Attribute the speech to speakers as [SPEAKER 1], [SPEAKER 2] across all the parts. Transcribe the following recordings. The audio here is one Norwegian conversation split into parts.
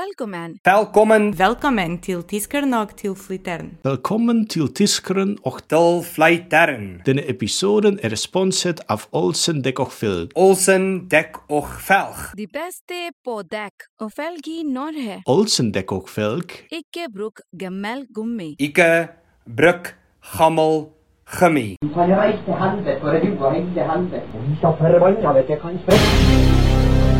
[SPEAKER 1] Velkommen.
[SPEAKER 2] Velkommen
[SPEAKER 3] Velkommen til Tiskernok til Flittern.
[SPEAKER 4] Velkommen til Tiskeren och
[SPEAKER 2] til Flytern.
[SPEAKER 4] denna episoden är sponset av Olsen Däck och Filk.
[SPEAKER 2] Olsen dek och velg.
[SPEAKER 1] De beste på dekk og felg i Norge.
[SPEAKER 4] Olsen Däck och Filk
[SPEAKER 1] Ikke bruk gammel gummi.
[SPEAKER 2] Ike, bruk, gammel, gummi.
[SPEAKER 5] kan reise til helvete, for du har reist til helvete. Vi skal forbanna vet jeg kan sprette.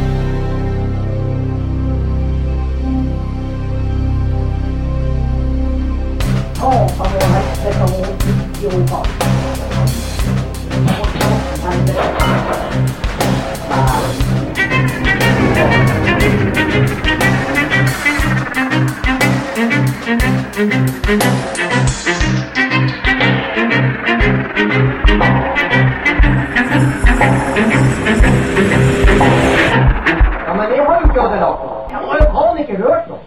[SPEAKER 5] Ja, men jeg har jo ikke hatt det nok. Jeg har jo faen ikke hørt noe.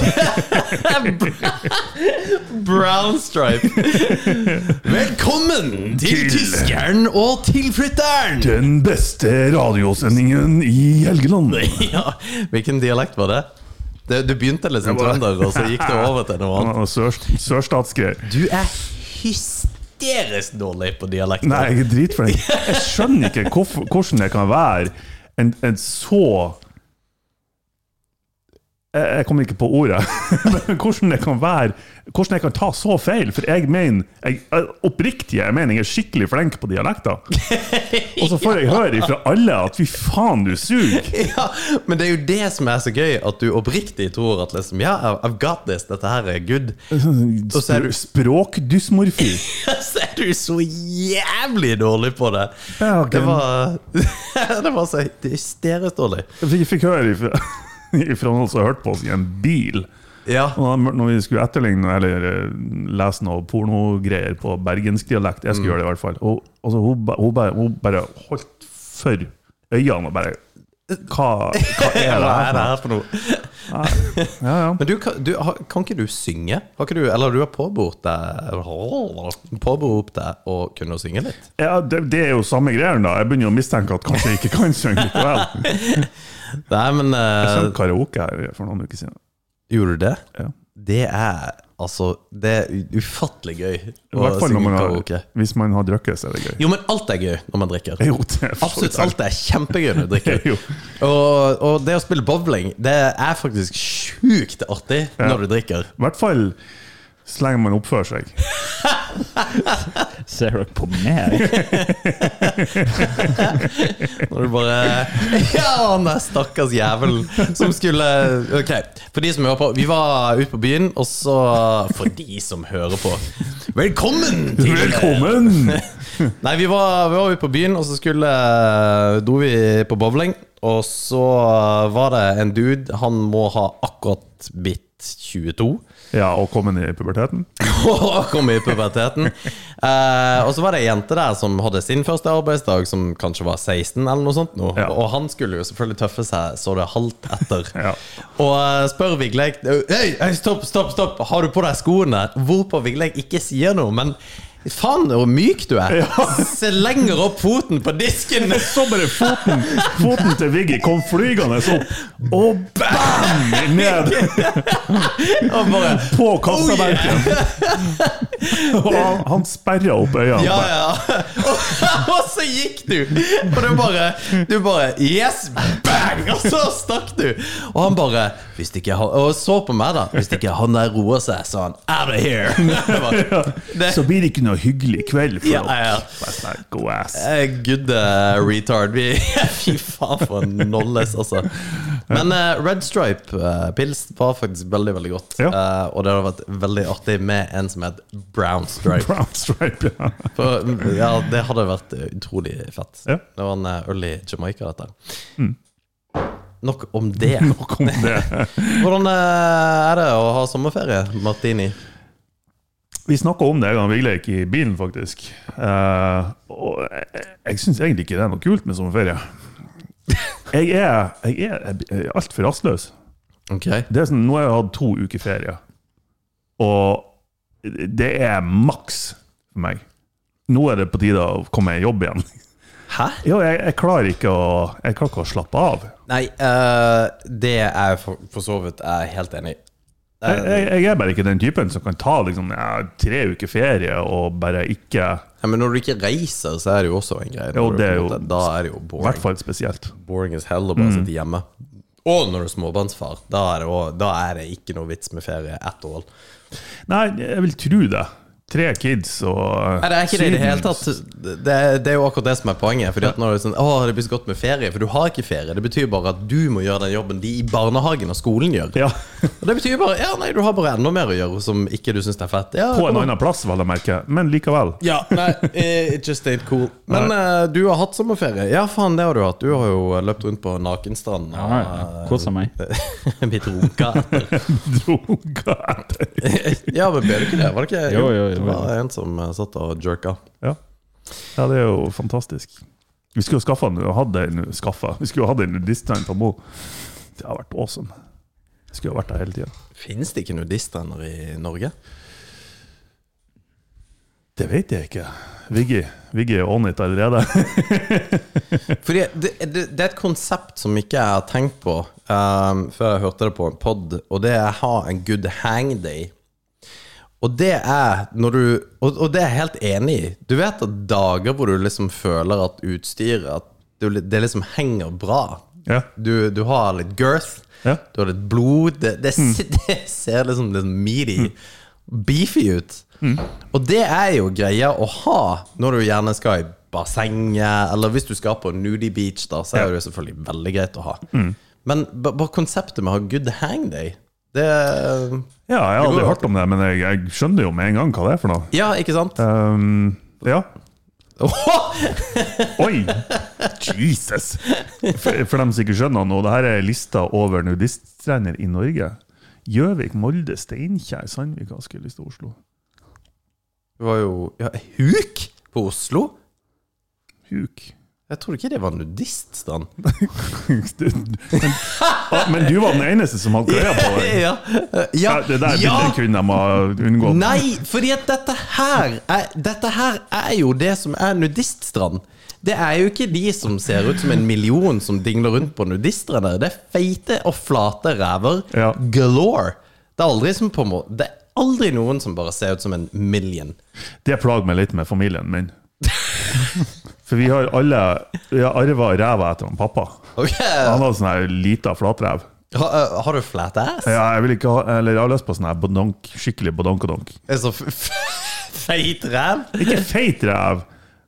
[SPEAKER 6] Brown stripe. Velkommen til
[SPEAKER 7] Til-
[SPEAKER 6] tyskeren og tilflytteren!
[SPEAKER 7] Den beste radiosendingen i Helgeland.
[SPEAKER 6] Ja, hvilken dialekt var det? det du begynte litt som trønder, og så gikk det over til noe annet.
[SPEAKER 7] Ja, sør- Sørstatsgreier.
[SPEAKER 6] Du er hysterisk dårlig på dialekt.
[SPEAKER 7] Nei, jeg er dritflink. Jeg skjønner ikke hvorfor, hvordan det kan være en, en så jeg, jeg kommer ikke på ordet. Men hvordan det kan være Hvordan jeg kan ta så feil. For jeg mener jeg, Oppriktig, jeg mener jeg er skikkelig flink på dialekter. Og så får jeg høre ifra alle at fy faen, du suger.
[SPEAKER 6] Ja, men det er jo det som er så gøy, at du oppriktig tror at liksom, ja, I've got this, dette her er good. så er du-
[SPEAKER 7] Spr Språkdysmorfi.
[SPEAKER 6] Så er du så jævlig dårlig på det.
[SPEAKER 7] Ja, ok.
[SPEAKER 6] Det var, det var så hysterisk dårlig.
[SPEAKER 7] Vi fikk høre ifra, ifra noen som hørte på oss i en bil.
[SPEAKER 6] Ja.
[SPEAKER 7] Og da, når vi skulle etterligne eller eh, lese noe pornogreier på bergenskdialekt Jeg
[SPEAKER 6] Mm.
[SPEAKER 7] skulle gjøre det, i hvert fall. Og altså, hun, ba- hun, bare, hun bare holdt for øynene og bare Hva, hva er det
[SPEAKER 6] Hva er
[SPEAKER 7] her?
[SPEAKER 6] det her for noe?
[SPEAKER 7] for noe? Ja, ja.
[SPEAKER 6] Men du, kan, du, har- kan ikke du synge? Har ikke du, eller du har påberopt deg Påberopt deg å kunne synge litt?
[SPEAKER 7] ja det, det er jo samme greien, da. Jeg begynner å mistenke at kanskje jeg ikke kan synge likevel.
[SPEAKER 6] Nei, men
[SPEAKER 7] Jeg
[SPEAKER 6] eh,
[SPEAKER 7] sang karaoke her for noen uker siden.
[SPEAKER 6] Gjorde du det?
[SPEAKER 7] Ja.
[SPEAKER 6] Det er altså Det er u- ufattelig gøy
[SPEAKER 7] I
[SPEAKER 6] å
[SPEAKER 7] hvert fall når
[SPEAKER 6] synge
[SPEAKER 7] man
[SPEAKER 6] karaoke.
[SPEAKER 7] har, hvis man har drukket, så er det gøy.
[SPEAKER 6] Jo, men alt er gøy når man drikker.
[SPEAKER 7] Jo, det er for
[SPEAKER 6] Absolutt
[SPEAKER 7] sant.
[SPEAKER 6] alt er kjempegøy når du
[SPEAKER 7] Jo.
[SPEAKER 6] drikker. Og, og det å spille bowling, det er faktisk sjukt artig når du drikker.
[SPEAKER 7] I hvert fall så lenge man oppfører seg.
[SPEAKER 8] Ser dere på meg?
[SPEAKER 6] Når du bare Ja, han der stakkars jævelen som skulle Ok, for de som hører på. Vi var ute på byen, og så For de som hører på. Velkommen til
[SPEAKER 7] Velkommen!
[SPEAKER 6] Nei, vi var, vi var ute på byen, og så skulle dro vi på bowling. Og så var det en dude Han må ha akkurat bitt 22.
[SPEAKER 7] Ja, og kommet ned i puberteten.
[SPEAKER 6] Og kom i puberteten. Eh, og så var det ei jente der som hadde sin første arbeidsdag, som kanskje var 16, eller noe sånt. Nå.
[SPEAKER 7] Ja.
[SPEAKER 6] Og han skulle jo selvfølgelig tøffe seg så det halvt etter.
[SPEAKER 7] Ja.
[SPEAKER 6] Og eh, spør Vigleik Hei, hei, stopp, stopp, stopp! Har du på deg skoene? Hvorpå Vigleik ikke sier noe, men faen hvor myk du er! Slenger opp foten på disken!
[SPEAKER 7] Så bare foten, foten til Viggy kom flygende opp, og bam! Ned
[SPEAKER 6] Og bare
[SPEAKER 7] på kassabenken. Og han- han sperra opp øynene.
[SPEAKER 6] Ja, ja. Og, og så gikk du! Og du bare, du bare Yes! Bang! Og så stakk du! Og han bare hvis ikke han, Og så på meg, da. Hvis ikke han der roer seg, sa han Out of here! Jeg bare, Det
[SPEAKER 7] Så blir det ikke noe hyggelig kveld for
[SPEAKER 6] Ja,
[SPEAKER 7] oss.
[SPEAKER 6] ja.
[SPEAKER 7] Bare sånn, God ass.
[SPEAKER 6] er good eh, retard. Vi, fy faen, for en nolles, altså. Men eh, Red Stripe-pils var faktisk veldig, veldig godt.
[SPEAKER 7] Ja.
[SPEAKER 6] Eh, og det hadde vært veldig artig med en som het Brown Stripe.
[SPEAKER 7] Brown stripe, ja.
[SPEAKER 6] For, ja, det hadde vært eh, utrolig fett.
[SPEAKER 7] Ja. Mm.
[SPEAKER 6] Det var en eh, øl i Jamaica, dette. Nok om det.
[SPEAKER 7] Nok om det.
[SPEAKER 6] Hvordan eh, er det å ha sommerferie, Martini?
[SPEAKER 7] Vi snakka om det en gang, Vigleik, i bilen, faktisk. Eh, og jeg, jeg syns egentlig ikke det er noe kult med sommerferie. Jeg er, jeg er, jeg er altfor rastløs.
[SPEAKER 6] Ok.
[SPEAKER 7] det er sånn, Nå har jeg hatt to uker ferie, og det er maks for meg. Nå er det på tide å komme i jobb igjen.
[SPEAKER 6] Hæ?
[SPEAKER 7] Jo, jeg, jeg klarer ikke å Jeg klarer ikke å slappe av.
[SPEAKER 6] Nei, eh, det er for, for så vidt jeg er helt enig i.
[SPEAKER 7] Jeg, jeg, jeg er bare ikke den typen som kan ta liksom, ja, tre uker ferie og bare ikke
[SPEAKER 6] Ja, men når du ikke reiser, så er det jo også en greie.
[SPEAKER 7] Jo,
[SPEAKER 6] Når du
[SPEAKER 7] det er
[SPEAKER 6] på en
[SPEAKER 7] jo-
[SPEAKER 6] måte- Da er det jo
[SPEAKER 7] I hvert
[SPEAKER 6] boring.
[SPEAKER 7] fall Mm. spesielt.
[SPEAKER 6] Boring as hell å bare sitte hjemme. Og når du er småbarnsfar. Da er, det også, da er det ikke noe vits med ferie at all.
[SPEAKER 7] Nei, jeg vil tro det. Tre kids og
[SPEAKER 6] Nei, det er ikke det i det hele
[SPEAKER 7] Syden.
[SPEAKER 6] tatt. Det, det er jo akkurat det som er poenget. Fordi at når det er sånn, å, det blir så godt med ferie For du har ikke ferie. Det betyr bare at du må gjøre den jobben de i barnehagen og skolen gjør.
[SPEAKER 7] Ja,
[SPEAKER 6] Og det betyr bare ja, nei, du har bare enda mer å gjøre som ikke du syns er fett. Ja,
[SPEAKER 7] På en
[SPEAKER 6] kom an.
[SPEAKER 7] annen plass, vel å merke, men likevel.
[SPEAKER 6] Ja, nei, eh, it just ain't cool. Men eh, du har hatt sommerferie. Ja, faen, det har du hatt. Du har jo eh, løpt rundt på nakenstranden. og,
[SPEAKER 8] Ja, Kosa meg.
[SPEAKER 6] eh, Blitt runka etter.
[SPEAKER 7] Drunka etter.
[SPEAKER 6] ja, men ble du ikke det? Var det ikke
[SPEAKER 8] Jo, jo, jo.
[SPEAKER 6] Det var en som eh, satt og jerka.
[SPEAKER 7] Ja. ja, det er jo fantastisk. Vi skulle jo skaffa en, hatt en, skaffa. Vi skulle jo hatt en nudiststrand på Mo. Det har vært awesome. Vi skulle jo vært der hele tida.
[SPEAKER 6] Fins det ikke nudiststrender i Norge?
[SPEAKER 7] Det vet jeg ikke. Viggy Viggy er on it allerede.
[SPEAKER 6] Fordi det, det, det er et konsept som ikke jeg har tenkt på ehm, før jeg hørte det på en pod, og det er å ha en good hang day. Og det er når du Og, og det er jeg helt enig i. Du vet at dager hvor du liksom føler at utstyret at du, Det liksom henger bra.
[SPEAKER 7] Ja.
[SPEAKER 6] Du, du har litt girth,
[SPEAKER 7] Ja. Mm.
[SPEAKER 6] du har litt blod. Det, det, se- det ser liksom, liksom meaty, beefy ut.
[SPEAKER 7] Mm.
[SPEAKER 6] Og det er jo greia å ha når du gjerne skal i bassenget, eller hvis du skal på nudie beach, da, så er det jo selvfølgelig veldig greit å ha.
[SPEAKER 7] Mm.
[SPEAKER 6] Men ba- bare konseptet med å ha good hang day, det
[SPEAKER 7] ja, jeg har
[SPEAKER 6] går
[SPEAKER 7] aldri
[SPEAKER 6] jo
[SPEAKER 7] hørt om det, men jeg, jeg skjønner jo med en gang hva det er for noe.
[SPEAKER 6] Ja, ikke sant?
[SPEAKER 7] Ehm, ja.
[SPEAKER 6] Åh!
[SPEAKER 7] Oi! Jesus! For, for dem som ikke skjønner noe, det her er lista over nudiststrender i Norge. Gjøvik, Molde, Steinkjer, Sandvik, Asker, Lista, Oslo.
[SPEAKER 6] Det var jo ja, Huk på Oslo?
[SPEAKER 7] Huk.
[SPEAKER 6] Jeg trodde ikke det var nudiststand.
[SPEAKER 7] men, å, men du var den eneste som hadde klær på deg.
[SPEAKER 6] Ja, ja,
[SPEAKER 7] Ja, det der
[SPEAKER 6] ja.
[SPEAKER 7] bildet kunne de ha unngått.
[SPEAKER 6] Nei, fordi at dette her er, Dette her er jo det som er nudiststrand. Det er jo ikke de som ser ut som en million som dingler rundt på nudiststrender. Det er feite og flate ræver
[SPEAKER 7] Ja.
[SPEAKER 6] galore. Det er aldri som på må Det er aldri noen som bare ser ut som en million.
[SPEAKER 7] Det plager meg litt med familien min. For vi har alle Vi har arva ræva etter han pappa.
[SPEAKER 6] Ok,
[SPEAKER 7] Han
[SPEAKER 6] Har,
[SPEAKER 7] hadde sånn her lita flatrev.
[SPEAKER 6] øh, har du flat ass?
[SPEAKER 7] Ja, jeg vil ikke ha Eller jeg har lyst på sånn her bodonk, skikkelig bodonkodonk.
[SPEAKER 6] Altså, f- f- feit ræv?
[SPEAKER 7] Ikke feit ræv,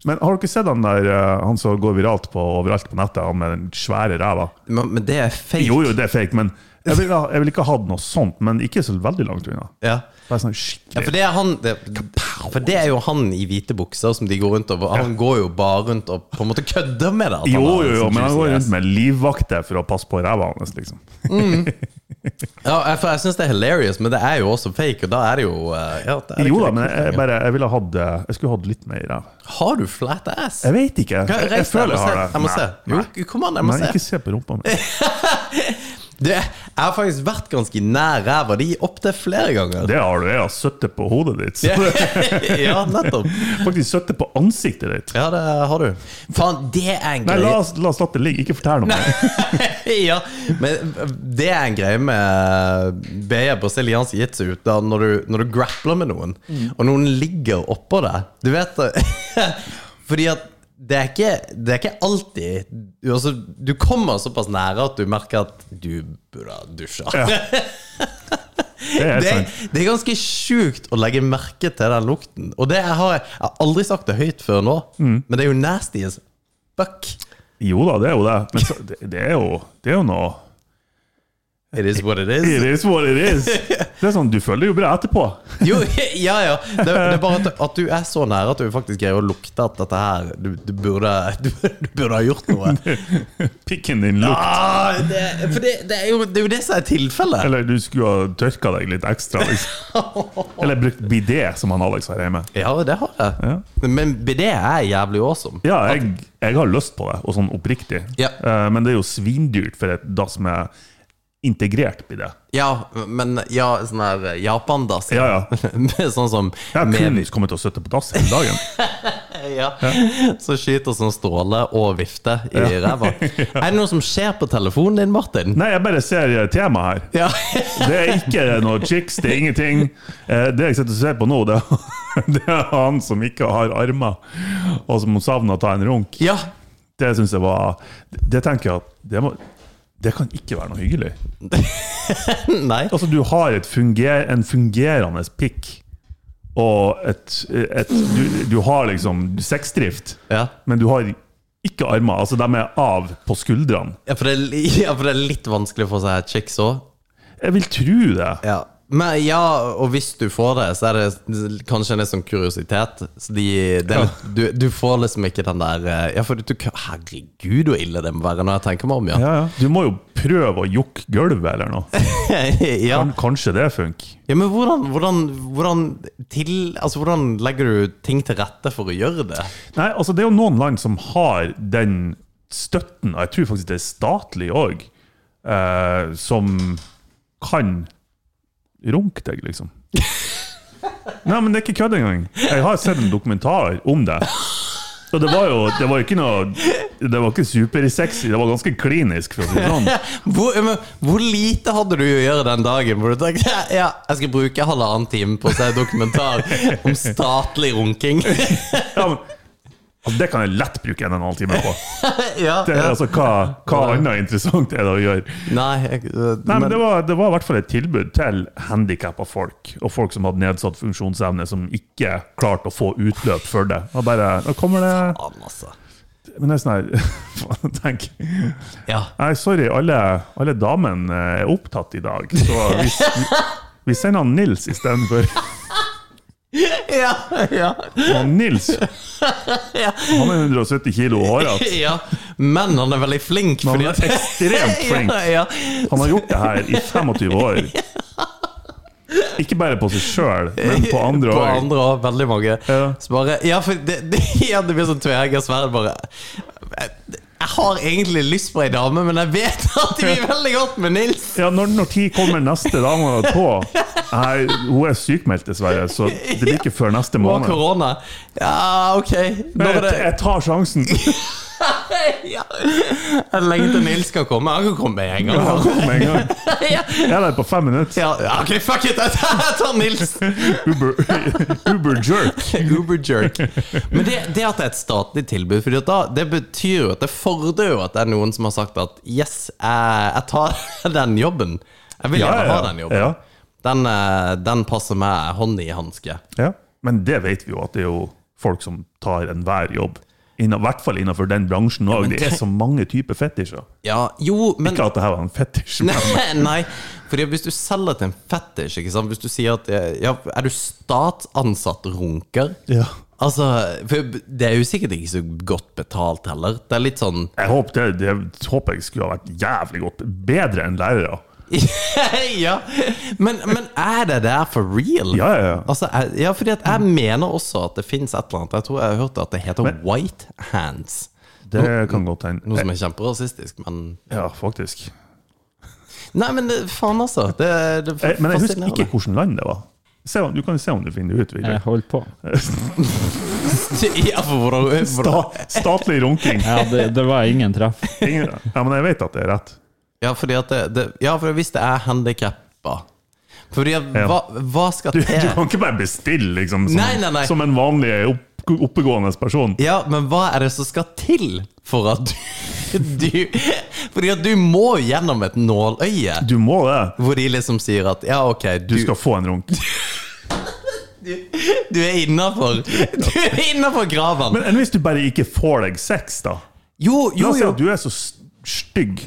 [SPEAKER 7] men har dere sett han der eh, Han som går viralt på overalt på nettet, han med den svære ræva?
[SPEAKER 6] Men, men det er feit.
[SPEAKER 7] Jo, jo, det er fake, men jeg ville ha, jeg vil ikke ha hatt noe sånt. Men ikke så veldig langt unna.
[SPEAKER 6] Ja.
[SPEAKER 7] Bare sånn
[SPEAKER 6] Ja, for
[SPEAKER 7] skikkelig
[SPEAKER 6] det er han det, For det er jo han i hvite bukser som de går rundt over. Han går jo bare rundt og på en måte kødder med det. at han
[SPEAKER 7] Jo,
[SPEAKER 6] har en
[SPEAKER 7] jo, jo,
[SPEAKER 6] sånn
[SPEAKER 7] men han
[SPEAKER 6] juicy
[SPEAKER 7] går
[SPEAKER 6] ass.
[SPEAKER 7] rundt med livvakter for å passe på ræva hans, liksom.
[SPEAKER 6] Mm. Ja, jeg- for jeg syns det er hilarious, men det er jo også fake, og da er det jo eh, ja, det er
[SPEAKER 7] Jo
[SPEAKER 6] ikke
[SPEAKER 7] da,
[SPEAKER 6] det
[SPEAKER 7] men
[SPEAKER 6] kult
[SPEAKER 7] jeg,
[SPEAKER 6] lenger.
[SPEAKER 7] bare, jeg ville hatt eh, Jeg skulle hatt litt mer ræv.
[SPEAKER 6] Har du flat ass?
[SPEAKER 7] Jeg vet ikke.
[SPEAKER 6] Kan
[SPEAKER 7] Jeg, jeg
[SPEAKER 6] reise deg,
[SPEAKER 7] føler jeg har det.
[SPEAKER 6] Jeg må se.
[SPEAKER 7] Nei,
[SPEAKER 6] Jeg må se. Jo, kom an, jeg
[SPEAKER 7] Nei,
[SPEAKER 6] må
[SPEAKER 7] Nei,
[SPEAKER 6] se.
[SPEAKER 7] ikke se på rumpa mi.
[SPEAKER 6] Det, jeg har faktisk vært ganske nær ræva di opptil flere ganger.
[SPEAKER 7] Det har du. Jeg har søttet på hodet ditt. Så
[SPEAKER 6] ja, nettopp.
[SPEAKER 7] faktisk søttet på ansiktet ditt.
[SPEAKER 6] Ja, det har du. Faen, det er en
[SPEAKER 7] Nei,
[SPEAKER 6] greie.
[SPEAKER 7] la oss, la oss la det ligge. Ikke fortell noe.
[SPEAKER 6] ja, men det er en greie med BE brasiliansk jitsu da, når, du, når du grappler med noen, og noen ligger oppå deg. Du vet det. Fordi at det er ikke, det er ikke alltid du- altså, Du kommer såpass nære at du merker at du burde ha dusja.
[SPEAKER 7] Det er
[SPEAKER 6] Det,
[SPEAKER 7] sant.
[SPEAKER 6] det er ganske sjukt å legge merke til den lukten. Og det har jeg, jeg har aldri sagt det høyt før nå, men det er jo nasty as fuck.
[SPEAKER 7] Jo da, det er jo det. Men så, det, det, er jo, det er jo noe
[SPEAKER 6] It is what it is.
[SPEAKER 7] It is what it is. Det er sånn, Du føler deg jo bra etterpå.
[SPEAKER 6] Jo, ja, ja. Det, det er bare at, at du er så nære at du faktisk greier å lukte at dette her Du, du, burde, du, du burde ha gjort noe.
[SPEAKER 7] Pikken din lukter.
[SPEAKER 6] Ah, det, for det, det, er jo, det er jo det som er tilfellet.
[SPEAKER 7] Eller du skulle ha tørka deg litt ekstra. Liksom. Eller brukt bidé, som han Alex har hjemme.
[SPEAKER 6] Ja, det har jeg. Men BD er jævlig awesome.
[SPEAKER 7] Ja, jeg, jeg har lyst på det, og sånn oppriktig.
[SPEAKER 6] Ja.
[SPEAKER 7] Eh, men det er jo svindyrt for et dass som er integrert bidé.
[SPEAKER 6] Ja, men ja, sånn her japandass
[SPEAKER 7] Ja, ja.
[SPEAKER 6] Med sånn som
[SPEAKER 7] Jeg har
[SPEAKER 6] med-
[SPEAKER 7] kun kommet til å sitte på dass hele dagen.
[SPEAKER 6] ja. Som skyter som stråle og vifte i ræva. Er det noe som skjer på telefonen din, Martin?
[SPEAKER 7] Nei, jeg bare ser eh, temaet her.
[SPEAKER 6] Ja.
[SPEAKER 7] Det er ikke noe chicks, det er ingenting. Eh, Det jeg sitter og ser på nå, det er, det er han som ikke har armer, og som savner å ta en runk.
[SPEAKER 6] ja.
[SPEAKER 7] Det syns jeg var Det tenker jeg at det, må, det kan ikke være noe hyggelig.
[SPEAKER 6] Nei.
[SPEAKER 7] Altså, du har et funger, en fungerende pikk, og et, et du, du har liksom sexdrift,
[SPEAKER 6] Ja.
[SPEAKER 7] men du har ikke armer. Altså, de er av på skuldrene.
[SPEAKER 6] Ja, for det er, li- ja, for det er litt vanskelig for seg chicks òg.
[SPEAKER 7] Jeg vil tro det.
[SPEAKER 6] Ja. Men ja, og hvis du får det, så er det kanskje en litt sånn kuriositet. Så de, det er litt, du, du får liksom ikke den der eh, Ja, for du, du Herregud, hvor ille det må være når jeg tenker meg om, ja.
[SPEAKER 7] Ja, ja. Du må jo prøve å jukke gulvet eller noe.
[SPEAKER 6] ja.
[SPEAKER 7] Kan, kanskje det funker.
[SPEAKER 6] ja men hvordan, hvordan, hvordan, til, altså, hvordan legger du ting til rette for å gjøre det?
[SPEAKER 7] Nei, altså Det er jo noen land som har den støtten, og jeg tror faktisk det er statlig òg, eh, som kan runke deg, liksom. Nei, men det er ikke kødd engang. Jeg har sett en dokumentar om det. Og det var jo det var ikke noe Det var ikke supersexy, det var ganske klinisk. for å si det sånn.
[SPEAKER 6] Hvor, men, hvor lite hadde du å gjøre den dagen hvor du tenkte ja, jeg skal bruke halvannen time på å se dokumentar om statlig runking?
[SPEAKER 7] Ja, men, altså, det kan jeg lett bruke en og en halv time på.
[SPEAKER 6] ja,
[SPEAKER 7] Det er, altså, hva, hva annet interessant er det å gjøre?
[SPEAKER 6] Nei, jeg, eh,
[SPEAKER 7] Nei, men
[SPEAKER 6] men-
[SPEAKER 7] det var, det var i hvert fall et tilbud til handikappa folk, og folk som hadde nedsatt funksjonsevne, som ikke klarte å få utløp for det. Og bare, nå kommer det
[SPEAKER 6] Faen, altså.
[SPEAKER 7] Men det er sånn her faen, Tenk.
[SPEAKER 6] Ja.
[SPEAKER 7] Nei, sorry, alle, alle damene er opptatt i dag, så vi, vi, vi sender han Nils istedenfor.
[SPEAKER 6] Ja, ja,
[SPEAKER 7] Han Nils Han er 170 kilo og hårete.
[SPEAKER 6] ja. Men han er veldig flink.
[SPEAKER 7] Men
[SPEAKER 6] Fordi
[SPEAKER 7] han er
[SPEAKER 6] at,
[SPEAKER 7] ekstremt flink.
[SPEAKER 6] ja, ja.
[SPEAKER 7] Han har gjort det her i 25 år. Ikke bare på seg sjøl, men på andre
[SPEAKER 6] På
[SPEAKER 7] òg.
[SPEAKER 6] andre også, veldig mange.
[SPEAKER 7] Ja.
[SPEAKER 6] Så bare, ja, for det, det, ja, det blir sånn tveegga sverd, bare. Jeg, jeg har egentlig lyst på ei dame, men jeg vet at det blir veldig godt med Nils.
[SPEAKER 7] Ja, når, når tid kommer neste dame på? Nei, hun er sykmeldt, dessverre, så det blir ikke før neste
[SPEAKER 6] Og
[SPEAKER 7] måned.
[SPEAKER 6] korona. Ja, ok.
[SPEAKER 7] Men
[SPEAKER 6] Når er
[SPEAKER 7] Jeg,
[SPEAKER 6] det
[SPEAKER 7] jeg tar sjansen.
[SPEAKER 6] ja. Jeg lengter til Nils skal komme. Han kan komme med en
[SPEAKER 7] Jeg
[SPEAKER 6] gang.
[SPEAKER 7] kommer med en gang.
[SPEAKER 6] Ja,
[SPEAKER 7] Jeg er der på fem minutter.
[SPEAKER 6] ja ok, fuck it! Jeg tar jeg tar Nils.
[SPEAKER 7] Uber, Uber jerk.
[SPEAKER 6] Uber jerk. Men det, det at det er et statlig tilbud, Fordi at da, det betyr jo at det fordrer jo at det er noen som har sagt at yes, jeg, jeg tar den jobben. Jeg vil
[SPEAKER 7] Ja,
[SPEAKER 6] gjerne
[SPEAKER 7] ja,
[SPEAKER 6] ha
[SPEAKER 7] ja.
[SPEAKER 6] den jobben.
[SPEAKER 7] Ja.
[SPEAKER 6] Den, eh, den passer meg hånd i hanske.
[SPEAKER 7] Ja. Men det vet vi jo, at det er jo folk som tar enhver jobb. I hvert fall innenfor den bransjen òg. Det er så mange typer fetisjer.
[SPEAKER 6] Ja, jo, men
[SPEAKER 7] Ikke at det her var en fetisj. men-
[SPEAKER 6] Nei, fordi hvis du selger til en fetisj, ikke sant? hvis du sier at eh, ja, er du statsansatt runker
[SPEAKER 7] Ja.
[SPEAKER 6] Altså, for Det er jo sikkert ikke så godt betalt heller. Det er litt sånn
[SPEAKER 7] Jeg håper det, det håper jeg skulle ha vært jævlig godt. Bedre enn lærere.
[SPEAKER 6] ja. men, men er det der for real?
[SPEAKER 7] Ja, ja, ja.
[SPEAKER 6] Altså, jeg, ja fordi at jeg mener også at det fins et eller annet. Jeg tror jeg har hørt at det heter
[SPEAKER 7] Men-
[SPEAKER 6] white hands.
[SPEAKER 7] Det kan godt
[SPEAKER 6] Noe
[SPEAKER 7] hende. Eh,
[SPEAKER 6] som er kjemperasistisk, men
[SPEAKER 7] Ja, faktisk.
[SPEAKER 6] Nei, men det, faen, altså. Det, det
[SPEAKER 7] Eh, Men jeg husker
[SPEAKER 6] fascinerer
[SPEAKER 7] ikke
[SPEAKER 6] meg.
[SPEAKER 7] hvilket land det var. Se, om- du kan se om du finner det ut. Viggo.
[SPEAKER 8] Jeg holdt på.
[SPEAKER 6] Ja, for hvordan, hvordan,
[SPEAKER 7] Sta, statlig runking.
[SPEAKER 8] Ja, det, det var ingen treff.
[SPEAKER 7] Ingen, ja, men jeg vet at det er rett.
[SPEAKER 6] ja, fordi at det, det, ja, for hvis det er handikappa Fordi at,
[SPEAKER 7] Ja.
[SPEAKER 6] hva, hva skal
[SPEAKER 7] Du,
[SPEAKER 6] til?
[SPEAKER 7] du kan ikke bare bestille, liksom, som,
[SPEAKER 6] Nei, nei, nei.
[SPEAKER 7] som en vanlig opp, oppegående person.
[SPEAKER 6] Ja, men hva er det som skal til for at du, du Fordi at du må gjennom et nåløye.
[SPEAKER 7] Du må det.
[SPEAKER 6] Hvor de liksom sier at ja, ok, du,
[SPEAKER 7] Du skal få en runk.
[SPEAKER 6] du er innafor. Du er innafor graven.
[SPEAKER 7] Men enn hvis du bare ikke får deg sex, da?
[SPEAKER 6] Jo,
[SPEAKER 7] La
[SPEAKER 6] jo,
[SPEAKER 7] oss si
[SPEAKER 6] jo.
[SPEAKER 7] at du er så s- stygg,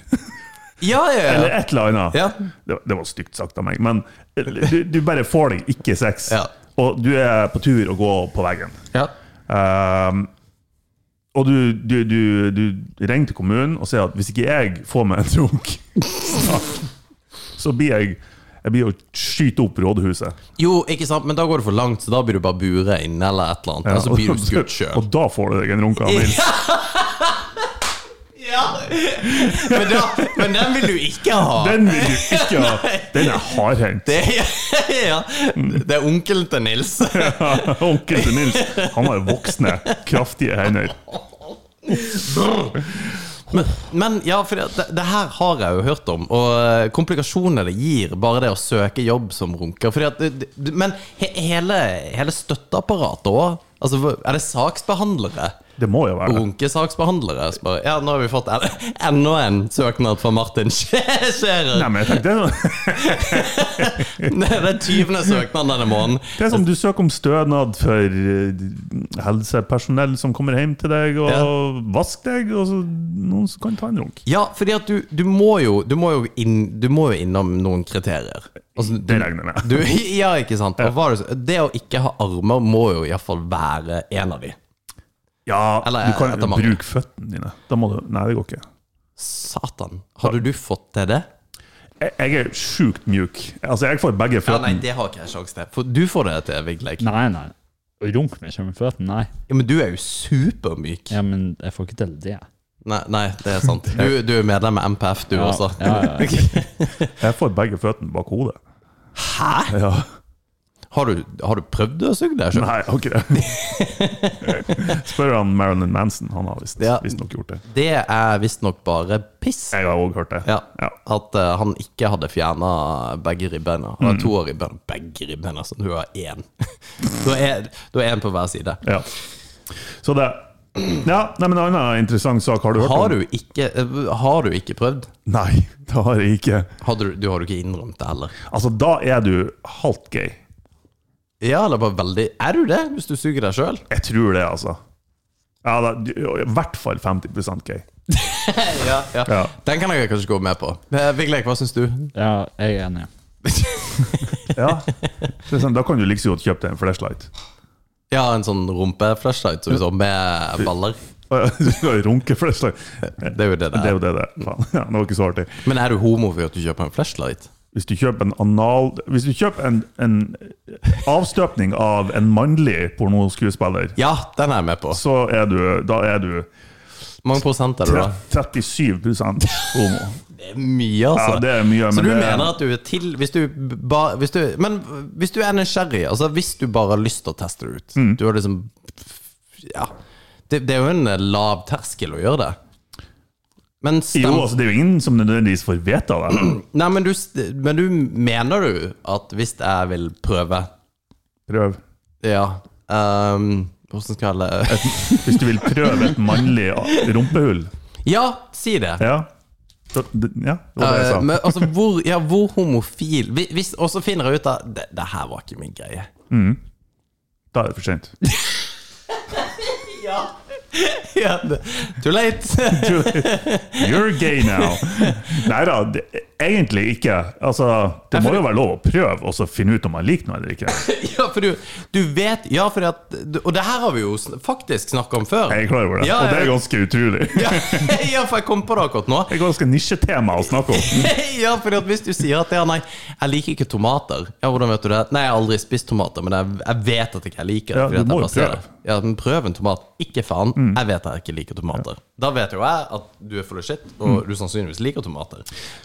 [SPEAKER 6] Ja, ja,
[SPEAKER 7] eller
[SPEAKER 6] ja.
[SPEAKER 7] et eller annet.
[SPEAKER 6] Ja.
[SPEAKER 7] Det, det var stygt sagt av meg, men du, du bare får deg ikke sex,
[SPEAKER 6] Ja.
[SPEAKER 7] og du er på tur å gå på veggen.
[SPEAKER 6] ja.
[SPEAKER 7] Ehm, og du, du, du, du ringer til kommunen og sier at hvis ikke jeg får meg en drunk, så, så blir jeg jeg blir å skyte opp rådhuset.
[SPEAKER 6] Jo, ikke sant, men da går det for langt, så da blir du bare buret inne Altså, eller et eller annet. Og så blir du skutt
[SPEAKER 7] og
[SPEAKER 6] sjøl.
[SPEAKER 7] da får du deg en runk av Nils.
[SPEAKER 6] Men, da, men den vil du ikke ha.
[SPEAKER 7] Den vil du ikke ha. Den er hardhendt.
[SPEAKER 6] Det, er- ja, det er onkelen til Nils.
[SPEAKER 7] Onkel til Nils, han har voksne, kraftige hender.
[SPEAKER 6] Men, men ja, for det, det, det her har jeg jo hørt om, og eh, komplikasjoner det gir bare det å søke jobb som runker. Fordi at, det- det- men he, hele, hele støtteapparatet òg? Altså, hva- er det saksbehandlere?
[SPEAKER 7] Det må jo være det.
[SPEAKER 6] Runkesaksbehandlere? Så bare, Ja, nå har vi fått en- enda en søknad fra Martin Skjæ-
[SPEAKER 7] Nei,
[SPEAKER 6] Skjærer.
[SPEAKER 7] men jeg tenkte, det er sånn-
[SPEAKER 6] Det er den 20. søknaden denne måneden.
[SPEAKER 7] det er sånn- som du søker om stønad for eh, helsepersonell som kommer hjem til deg og vasker deg, og så noen som kan ta en runk.
[SPEAKER 6] Ja, fordi at du, du må jo, du må jo, inn, du må jo innom noen kriterier. Altså, du,
[SPEAKER 7] Det regner jeg med.
[SPEAKER 6] Du, ja, ikke sant? Og hva er det, så- det å ikke ha armer må jo iallfall være en av de.
[SPEAKER 7] Ja,
[SPEAKER 6] Eller, eh,
[SPEAKER 7] du kan
[SPEAKER 6] etter mange.
[SPEAKER 7] bruke føttene dine. Da må du, nei, det går ikke.
[SPEAKER 6] Satan. Hadde du fått til det?
[SPEAKER 7] Jeg, jeg er sjukt mjuk. Altså, jeg får begge
[SPEAKER 6] Ja, nei,
[SPEAKER 7] føttene.
[SPEAKER 6] det har ikke jeg sjanse til. For du får det til, Vigleik. Ja,
[SPEAKER 8] Nei, nei. Runk meg ikke med føttene, nei.
[SPEAKER 6] men du er jo supermyk.
[SPEAKER 8] Ja, men jeg får ikke til det.
[SPEAKER 6] Nei, nei, det er sant. Du, du er medlem av MPF, du
[SPEAKER 8] Ja,
[SPEAKER 6] også.
[SPEAKER 8] ja, ja, ja.
[SPEAKER 7] Jeg får begge føttene bak hodet.
[SPEAKER 6] Hæ?
[SPEAKER 7] Ja.
[SPEAKER 6] Har du, har du prøvd å suge deg sjøl?
[SPEAKER 7] Nei, jeg har ikke det. Spør han Marilyn Manson. Han har visst
[SPEAKER 6] Ja.
[SPEAKER 7] visst nok gjort det.
[SPEAKER 6] Det er visstnok bare piss.
[SPEAKER 7] Jeg har òg hørt det.
[SPEAKER 6] Ja,
[SPEAKER 7] Ja.
[SPEAKER 6] At eh, han ikke hadde fjerna begge ribbeina. Han har to av ribbeina. Begge ribbeina, så du har én. du har én på hver side.
[SPEAKER 7] Ja. Så det Ja, nei, men En annen interessant sak har du hørt
[SPEAKER 6] Har
[SPEAKER 7] om?
[SPEAKER 6] du ikke, eh, har du ikke prøvd?
[SPEAKER 7] Nei, det har jeg ikke.
[SPEAKER 6] Har du, du har jo ikke innrømt det heller.
[SPEAKER 7] Altså, Da er du halvt gay.
[SPEAKER 6] Ja, eller bare veldig Er du det, hvis du suger deg sjøl?
[SPEAKER 7] Jeg tror det, altså. Ja, da, du- I hvert fall 50 gay.
[SPEAKER 6] Ja, ja.
[SPEAKER 7] Ja.
[SPEAKER 6] Den kan jeg kanskje gå med på. Eh, Vigleik, hva syns du?
[SPEAKER 8] Ja, jeg er enig.
[SPEAKER 7] Ja. Det er sånn, da kan du like så godt kjøpe deg en flashlight.
[SPEAKER 6] Ja, en sånn rumpeflashlight som vi så med baller.
[SPEAKER 7] Å, ja, Du skal jo runke flashlight.
[SPEAKER 6] Det er jo det det
[SPEAKER 7] Det er jo
[SPEAKER 6] er.
[SPEAKER 7] det det er. Faen, ja, det var ikke så artig.
[SPEAKER 6] Men er du homo for at du kjøper en flashlight?
[SPEAKER 7] Hvis du kjøper en anal Hvis du kjøper en, en avstøpning av en mannlig pornoskuespiller,
[SPEAKER 6] Ja, den er jeg med på.
[SPEAKER 7] så er du Da er du
[SPEAKER 6] Mange prosent er du da?
[SPEAKER 7] 37 homo.
[SPEAKER 6] Det er mye, altså.
[SPEAKER 7] Ja, det er mye,
[SPEAKER 6] så
[SPEAKER 7] men
[SPEAKER 6] du
[SPEAKER 7] det-
[SPEAKER 6] mener at du er til hvis du, ba, hvis du Men hvis du er nysgjerrig, altså hvis du bare har lyst til å teste det ut
[SPEAKER 7] Mm.
[SPEAKER 6] Du har liksom Ja. Det, det er jo en eh, lav terskel å gjøre det. Men
[SPEAKER 7] Jo,
[SPEAKER 6] stem...
[SPEAKER 7] altså, det er jo ingen som nødvendigvis får vite av det.
[SPEAKER 6] Nei, men du, st- men du mener du at hvis jeg vil prøve
[SPEAKER 7] Prøv.
[SPEAKER 6] Ja. ehm, hvordan skal jeg kalle det?
[SPEAKER 7] Hvis du vil prøve et mannlig rumpehull
[SPEAKER 6] Ja, si det.
[SPEAKER 7] Ja, da, d- ja det var det jeg
[SPEAKER 6] Eh, men
[SPEAKER 7] sa.
[SPEAKER 6] altså, hvor, ja, hvor homofil Hvis- hvis- Og så finner jeg ut at det, det her var ikke min greie.
[SPEAKER 7] Da er det for sent.
[SPEAKER 6] Ja, det- too late!
[SPEAKER 7] You're gay now. Nei da, det- egentlig ikke. Altså, Det må jo være lov å prøve og så finne ut om man liker noe eller ikke.
[SPEAKER 6] Ja, for du, du vet Ja, fordi at Og det her har vi jo sn- faktisk snakka om før.
[SPEAKER 7] Jeg er klar over det,
[SPEAKER 6] Ja,
[SPEAKER 7] og det er
[SPEAKER 6] ja.
[SPEAKER 7] ganske utrolig. Det
[SPEAKER 6] Ja, ja, for jeg kom på det akkurat nå.
[SPEAKER 7] er ganske nisjetema å snakke om.
[SPEAKER 6] Ja, fordi at hvis du sier at ja, nei, jeg liker ikke tomater Ja, hvordan vet du det? Nei, jeg har aldri spist tomater, men jeg, jeg vet at ikke jeg liker det.
[SPEAKER 7] Ja,
[SPEAKER 6] fordi
[SPEAKER 7] du
[SPEAKER 6] at jeg
[SPEAKER 7] må jo
[SPEAKER 6] bare ser
[SPEAKER 7] prøve. Mm.
[SPEAKER 6] det. Ja, men prøv en tomat. Ikke faen. Jeg vet jeg ikke liker tomater. Da vet jo jeg at du er full av shit,
[SPEAKER 7] Mm.
[SPEAKER 6] og du sannsynligvis liker tomater.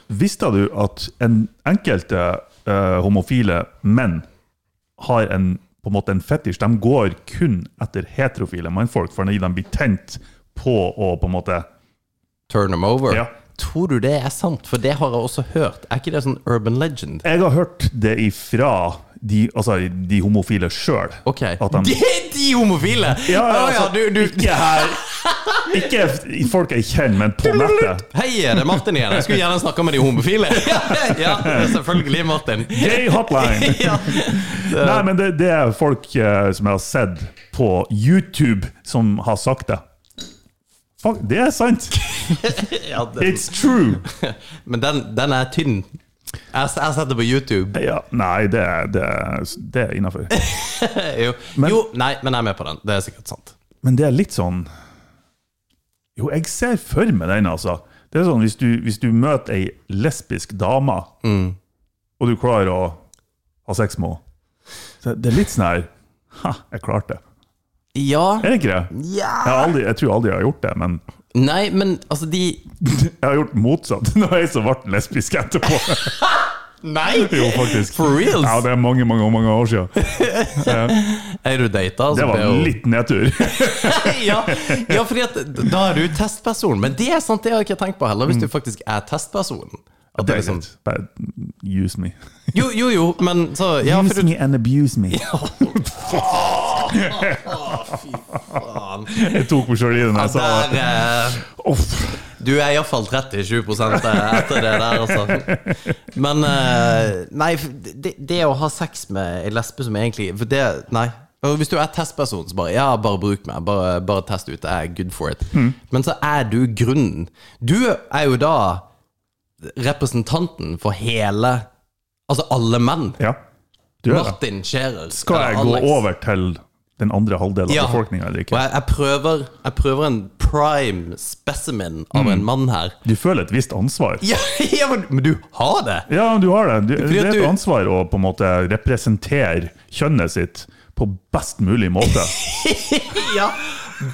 [SPEAKER 7] Visste du at en enkelte eh, homofile menn har en, på en måte en fetisj? De går kun etter heterofile mannfolk fordi de blir tent på å på en måte
[SPEAKER 6] Turn them over.
[SPEAKER 7] Ja.
[SPEAKER 6] Tror du det er sant? For det har jeg også hørt. Er ikke det sånn urban legend?
[SPEAKER 7] Jeg har hørt det ifra de, altså, de homofile sjøl.
[SPEAKER 6] Ok.
[SPEAKER 7] At de,
[SPEAKER 6] De, de homofile!
[SPEAKER 7] ja, ja,
[SPEAKER 6] Å,
[SPEAKER 7] altså,
[SPEAKER 6] du, du,
[SPEAKER 7] Ikke her Ikke i folk jeg kjenner, men på nettet.
[SPEAKER 6] Hei, det er Martin igjen. Jeg skulle gjerne snakka med de homofile. ja, selvfølgelig, Martin.
[SPEAKER 7] Gay hotline!
[SPEAKER 6] ja.
[SPEAKER 7] Nei, men det, det er folk eh, som jeg har sett på YouTube, som har sagt det. Fuck, det er sant!
[SPEAKER 6] ja, den,
[SPEAKER 7] It's true!
[SPEAKER 6] men den, den er tynn. Jeg, s- jeg har sett det på YouTube.
[SPEAKER 7] Ja, nei, det, er- det, er- det er innafor.
[SPEAKER 6] Jo, jo, nei, men jeg er med på den. Det er sikkert sant.
[SPEAKER 7] Men det er litt sånn Jo, jeg ser for meg den, altså. Det er sånn hvis du, hvis du møter ei lesbisk dame,
[SPEAKER 6] Mm.
[SPEAKER 7] og du klarer å ha sex med henne så Det er litt sånn her Ha, jeg klarte det.
[SPEAKER 6] Ja,
[SPEAKER 7] Er det ikke det? Jeg, har aldri, jeg tror aldri jeg har gjort det, men
[SPEAKER 6] Nei, men altså, de
[SPEAKER 7] Jeg har gjort motsatt. Nå er jeg som ble lesbisk etterpå.
[SPEAKER 6] Nei!
[SPEAKER 7] Jo, faktisk.
[SPEAKER 6] For reals?
[SPEAKER 7] Ja, det er mange, mange, mange år siden.
[SPEAKER 6] Er du data?
[SPEAKER 7] Det var en liten nedtur.
[SPEAKER 6] ja, ja, fordi at da er du testperson. Men det er sant, det har jeg ikke tenkt på heller,
[SPEAKER 7] Mm.
[SPEAKER 6] hvis du faktisk er testperson. At det er liksom,
[SPEAKER 7] Bare use me.
[SPEAKER 6] jo, jo, jo, men så ja, for
[SPEAKER 7] Use
[SPEAKER 6] du,
[SPEAKER 7] me and abuse me.
[SPEAKER 6] faen.
[SPEAKER 7] Jeg tok meg sjøl i den. Jeg sa
[SPEAKER 6] Der, eh,
[SPEAKER 7] Uff.
[SPEAKER 6] du er iallfall 37 eh, etter det der, altså. Men eh, Nei, for det, det å ha sex med ei lesbe som egentlig For det Nei. Og Hvis du er testperson, så bare Ja, bare bruk meg. Bare, bare test ut. Jeg er good for it.
[SPEAKER 7] Mm.
[SPEAKER 6] Men så er du grunnen. Du er jo da representanten for hele Altså alle menn.
[SPEAKER 7] Ja. Du gjør det.
[SPEAKER 6] Martin Scherer.
[SPEAKER 7] Skal jeg
[SPEAKER 6] eller
[SPEAKER 7] gå
[SPEAKER 6] Alex.
[SPEAKER 7] over til den andre halvdelen
[SPEAKER 6] Ja.
[SPEAKER 7] av befolkninga eller
[SPEAKER 6] Og
[SPEAKER 7] ikke?
[SPEAKER 6] jeg, jeg, prøver, jeg prøver en prime specimen av en mann her.
[SPEAKER 7] Du føler et visst ansvar.
[SPEAKER 6] Mm. Ja, ja men, men du har det!
[SPEAKER 7] Ja, du har det. Du,
[SPEAKER 6] Fordi
[SPEAKER 7] det
[SPEAKER 6] at
[SPEAKER 7] er
[SPEAKER 6] du-
[SPEAKER 7] et ansvar å på en måte representere kjønnet sitt på best mulig måte.
[SPEAKER 6] Ja,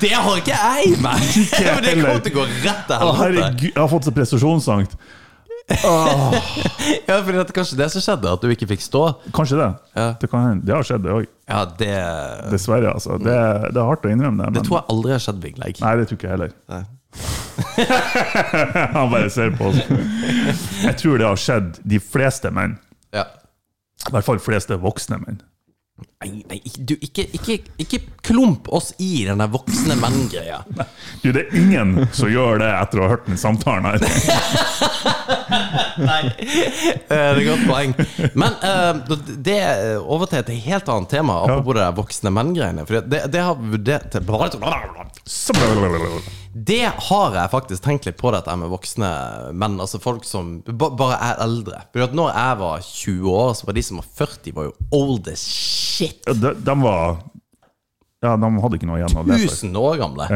[SPEAKER 6] Det har ikke jeg i meg! Men det kommer til å gå rett til
[SPEAKER 7] Å,
[SPEAKER 6] helvete.
[SPEAKER 7] herregud, jeg har fått så prestasjonsangst.
[SPEAKER 6] Ja, fordi at kanskje det som skjedde, at du ikke fikk stå.
[SPEAKER 7] Kanskje det.
[SPEAKER 6] Ja.
[SPEAKER 7] Det, kan, hende. det har skjedd, det òg.
[SPEAKER 6] Ja, det,
[SPEAKER 7] Dessverre, altså. Det, det er hardt å innrømme det.
[SPEAKER 6] det
[SPEAKER 7] Men
[SPEAKER 6] tror jeg aldri har skjedd, Vigleik.
[SPEAKER 7] nei, det tror ikke jeg heller. Han bare ser på oss. Jeg tror det har skjedd de fleste menn.
[SPEAKER 6] Ja.
[SPEAKER 7] I hvert fall fleste voksne menn.
[SPEAKER 6] Nei, nei, ikke- du, ikke, ikke, ikke klump oss i den der voksne menn-greia.
[SPEAKER 7] Du, det er ingen som gjør det etter å ha hørt den samtalen her.
[SPEAKER 6] Nei. Eh, Det er et godt poeng. Men eh, det er over til et helt annet tema, apropos det der voksne menn-greiene. For det, det har vurdert
[SPEAKER 7] Så-
[SPEAKER 6] Det har jeg faktisk tenkt litt på, dette med voksne menn. Altså folk som ba, bare er eldre. For at når jeg var 20 år, så var de som var 40, var jo old as shit.
[SPEAKER 7] De, de var Ja, de hadde ikke noe igjen å leve for.
[SPEAKER 6] 1000 år gamle.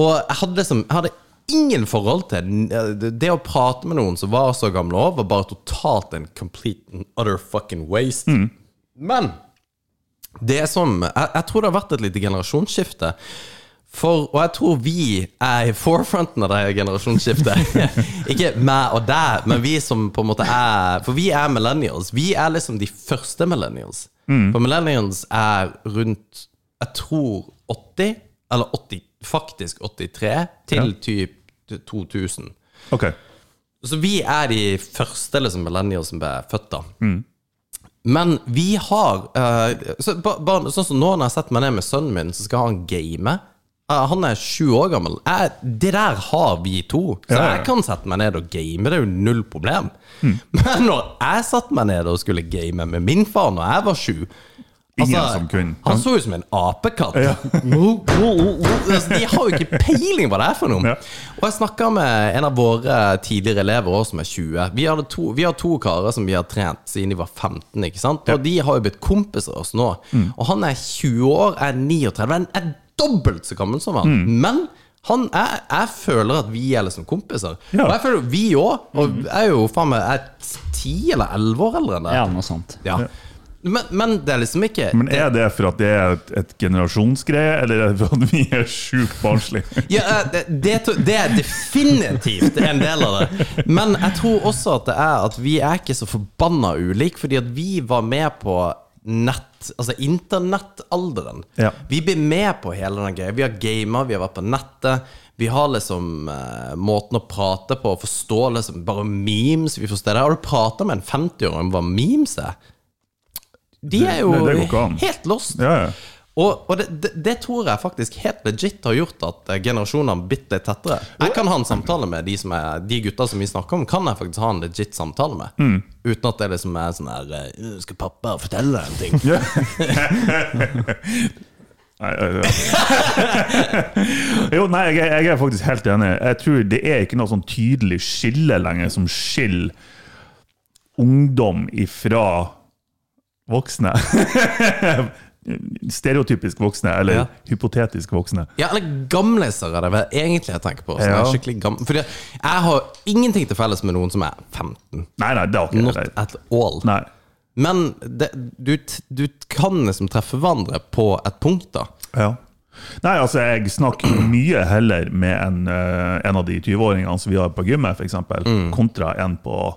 [SPEAKER 6] Og jeg hadde, liksom, jeg hadde ingen forhold til den. det å prate med noen som var så gamle òg, var bare totalt en complete and utter fucking waste. Men det som jeg, jeg tror det har vært et lite generasjonsskifte. For, og jeg tror vi er i forefronten av det her generasjonsskiftet. Ikke meg og deg, men vi som på en måte er For vi er millennials. Vi er liksom de første millennials. For millennials er rundt Jeg tror 80, eller 80, faktisk 83, til typ 2000.
[SPEAKER 7] Ok.
[SPEAKER 6] Så Altså, vi er de første liksom, millennials som ble født da.
[SPEAKER 7] Mm.
[SPEAKER 6] Men vi har eh, så, ba, ba, Sånn som nå når jeg setter meg ned med sønnen min, så skal han game. Eh, han er sju år gammel. Jeg, det der har vi to. Så
[SPEAKER 7] Ja, ja, Mm. ja.
[SPEAKER 6] jeg kan sette meg ned og game. Det er jo null problem. Men når jeg satte meg ned og skulle game med min far når jeg var sju altså,
[SPEAKER 7] Ingen som kunne.
[SPEAKER 6] Han så ut som en apekatt. Altså, de har jo ikke peiling hva det er for noe.
[SPEAKER 7] Ja.
[SPEAKER 6] Og jeg snakka med en av våre tidligere elever også, som er 20. Vi, hadde to, vi har to karer som vi har trent siden de var 15. ikke sant? Og de har jo blitt kompiser av oss nå.
[SPEAKER 7] Mm.
[SPEAKER 6] Og han er 20 år, er 39, men er dobbelt så gammel som han.
[SPEAKER 7] Mm.
[SPEAKER 6] Men han er, jeg føler at vi er liksom kompiser.
[SPEAKER 7] Ja.
[SPEAKER 6] Og jeg føler jo vi òg. Og jeg er jo faen meg jeg er 10 eller 11 år eldre enn deg.
[SPEAKER 8] Ja, noe sånt.
[SPEAKER 6] Ja. Men, men det er liksom ikke
[SPEAKER 7] Men er det for at det er et, et generasjonsgreie, eller er det for at vi er sjukt barnslige?
[SPEAKER 6] Ja, eh, det, det, to- det er definitivt en del av det. Men jeg tror også at det er at vi er ikke så forbanna ulike, fordi at vi var med på nett, altså internettalderen.
[SPEAKER 7] Ja.
[SPEAKER 6] Vi blir med på hele den greia. Vi har gamer, vi har vært på nettet. Vi har liksom eh, måten å prate på, forstå liksom bare memes. Vi forstår det. Har du prata med en 50-åring om hva memes er? De er jo
[SPEAKER 7] Det- det går ikke an.
[SPEAKER 6] helt lost.
[SPEAKER 7] Ja, ja.
[SPEAKER 6] Og, og det, det, det tror jeg faktisk helt legit har gjort at eh, generasjonene bitte litt tettere. Jeg kan ha en samtale med de, som er, de gutta som vi snakker om, kan jeg faktisk ha en legit samtale med.
[SPEAKER 7] Mm.
[SPEAKER 6] Uten at det liksom er sånn her eh, «Øh, Skal pappa fortelle deg en ting?
[SPEAKER 7] Nei, ja, ja. jo, nei, jeg, jeg er faktisk helt enig. Jeg tror det er ikke noe sånn tydelig skille lenger som skiller ungdom ifra voksne. Stereotypisk voksne, eller
[SPEAKER 6] Ja.
[SPEAKER 7] hypotetisk voksne.
[SPEAKER 6] Ja, eller gamleser er det vel egentlig jeg tenker på. Sånn,
[SPEAKER 7] Ja.
[SPEAKER 6] er skikkelig gam- Fordi jeg har ingenting til felles med noen som er 15.
[SPEAKER 7] Nei, nei, det har ikke
[SPEAKER 6] Not
[SPEAKER 7] jeg.
[SPEAKER 6] at all.
[SPEAKER 7] Nei.
[SPEAKER 6] Men det, du, t- du kan liksom treffe hverandre på et punkt, da.
[SPEAKER 7] Ja. Nei, altså, jeg snakker jo mye heller med en, eh, en av de 20-åringene som vi har på gymmet, f.eks., eksempel
[SPEAKER 6] Mm.
[SPEAKER 7] kontra en på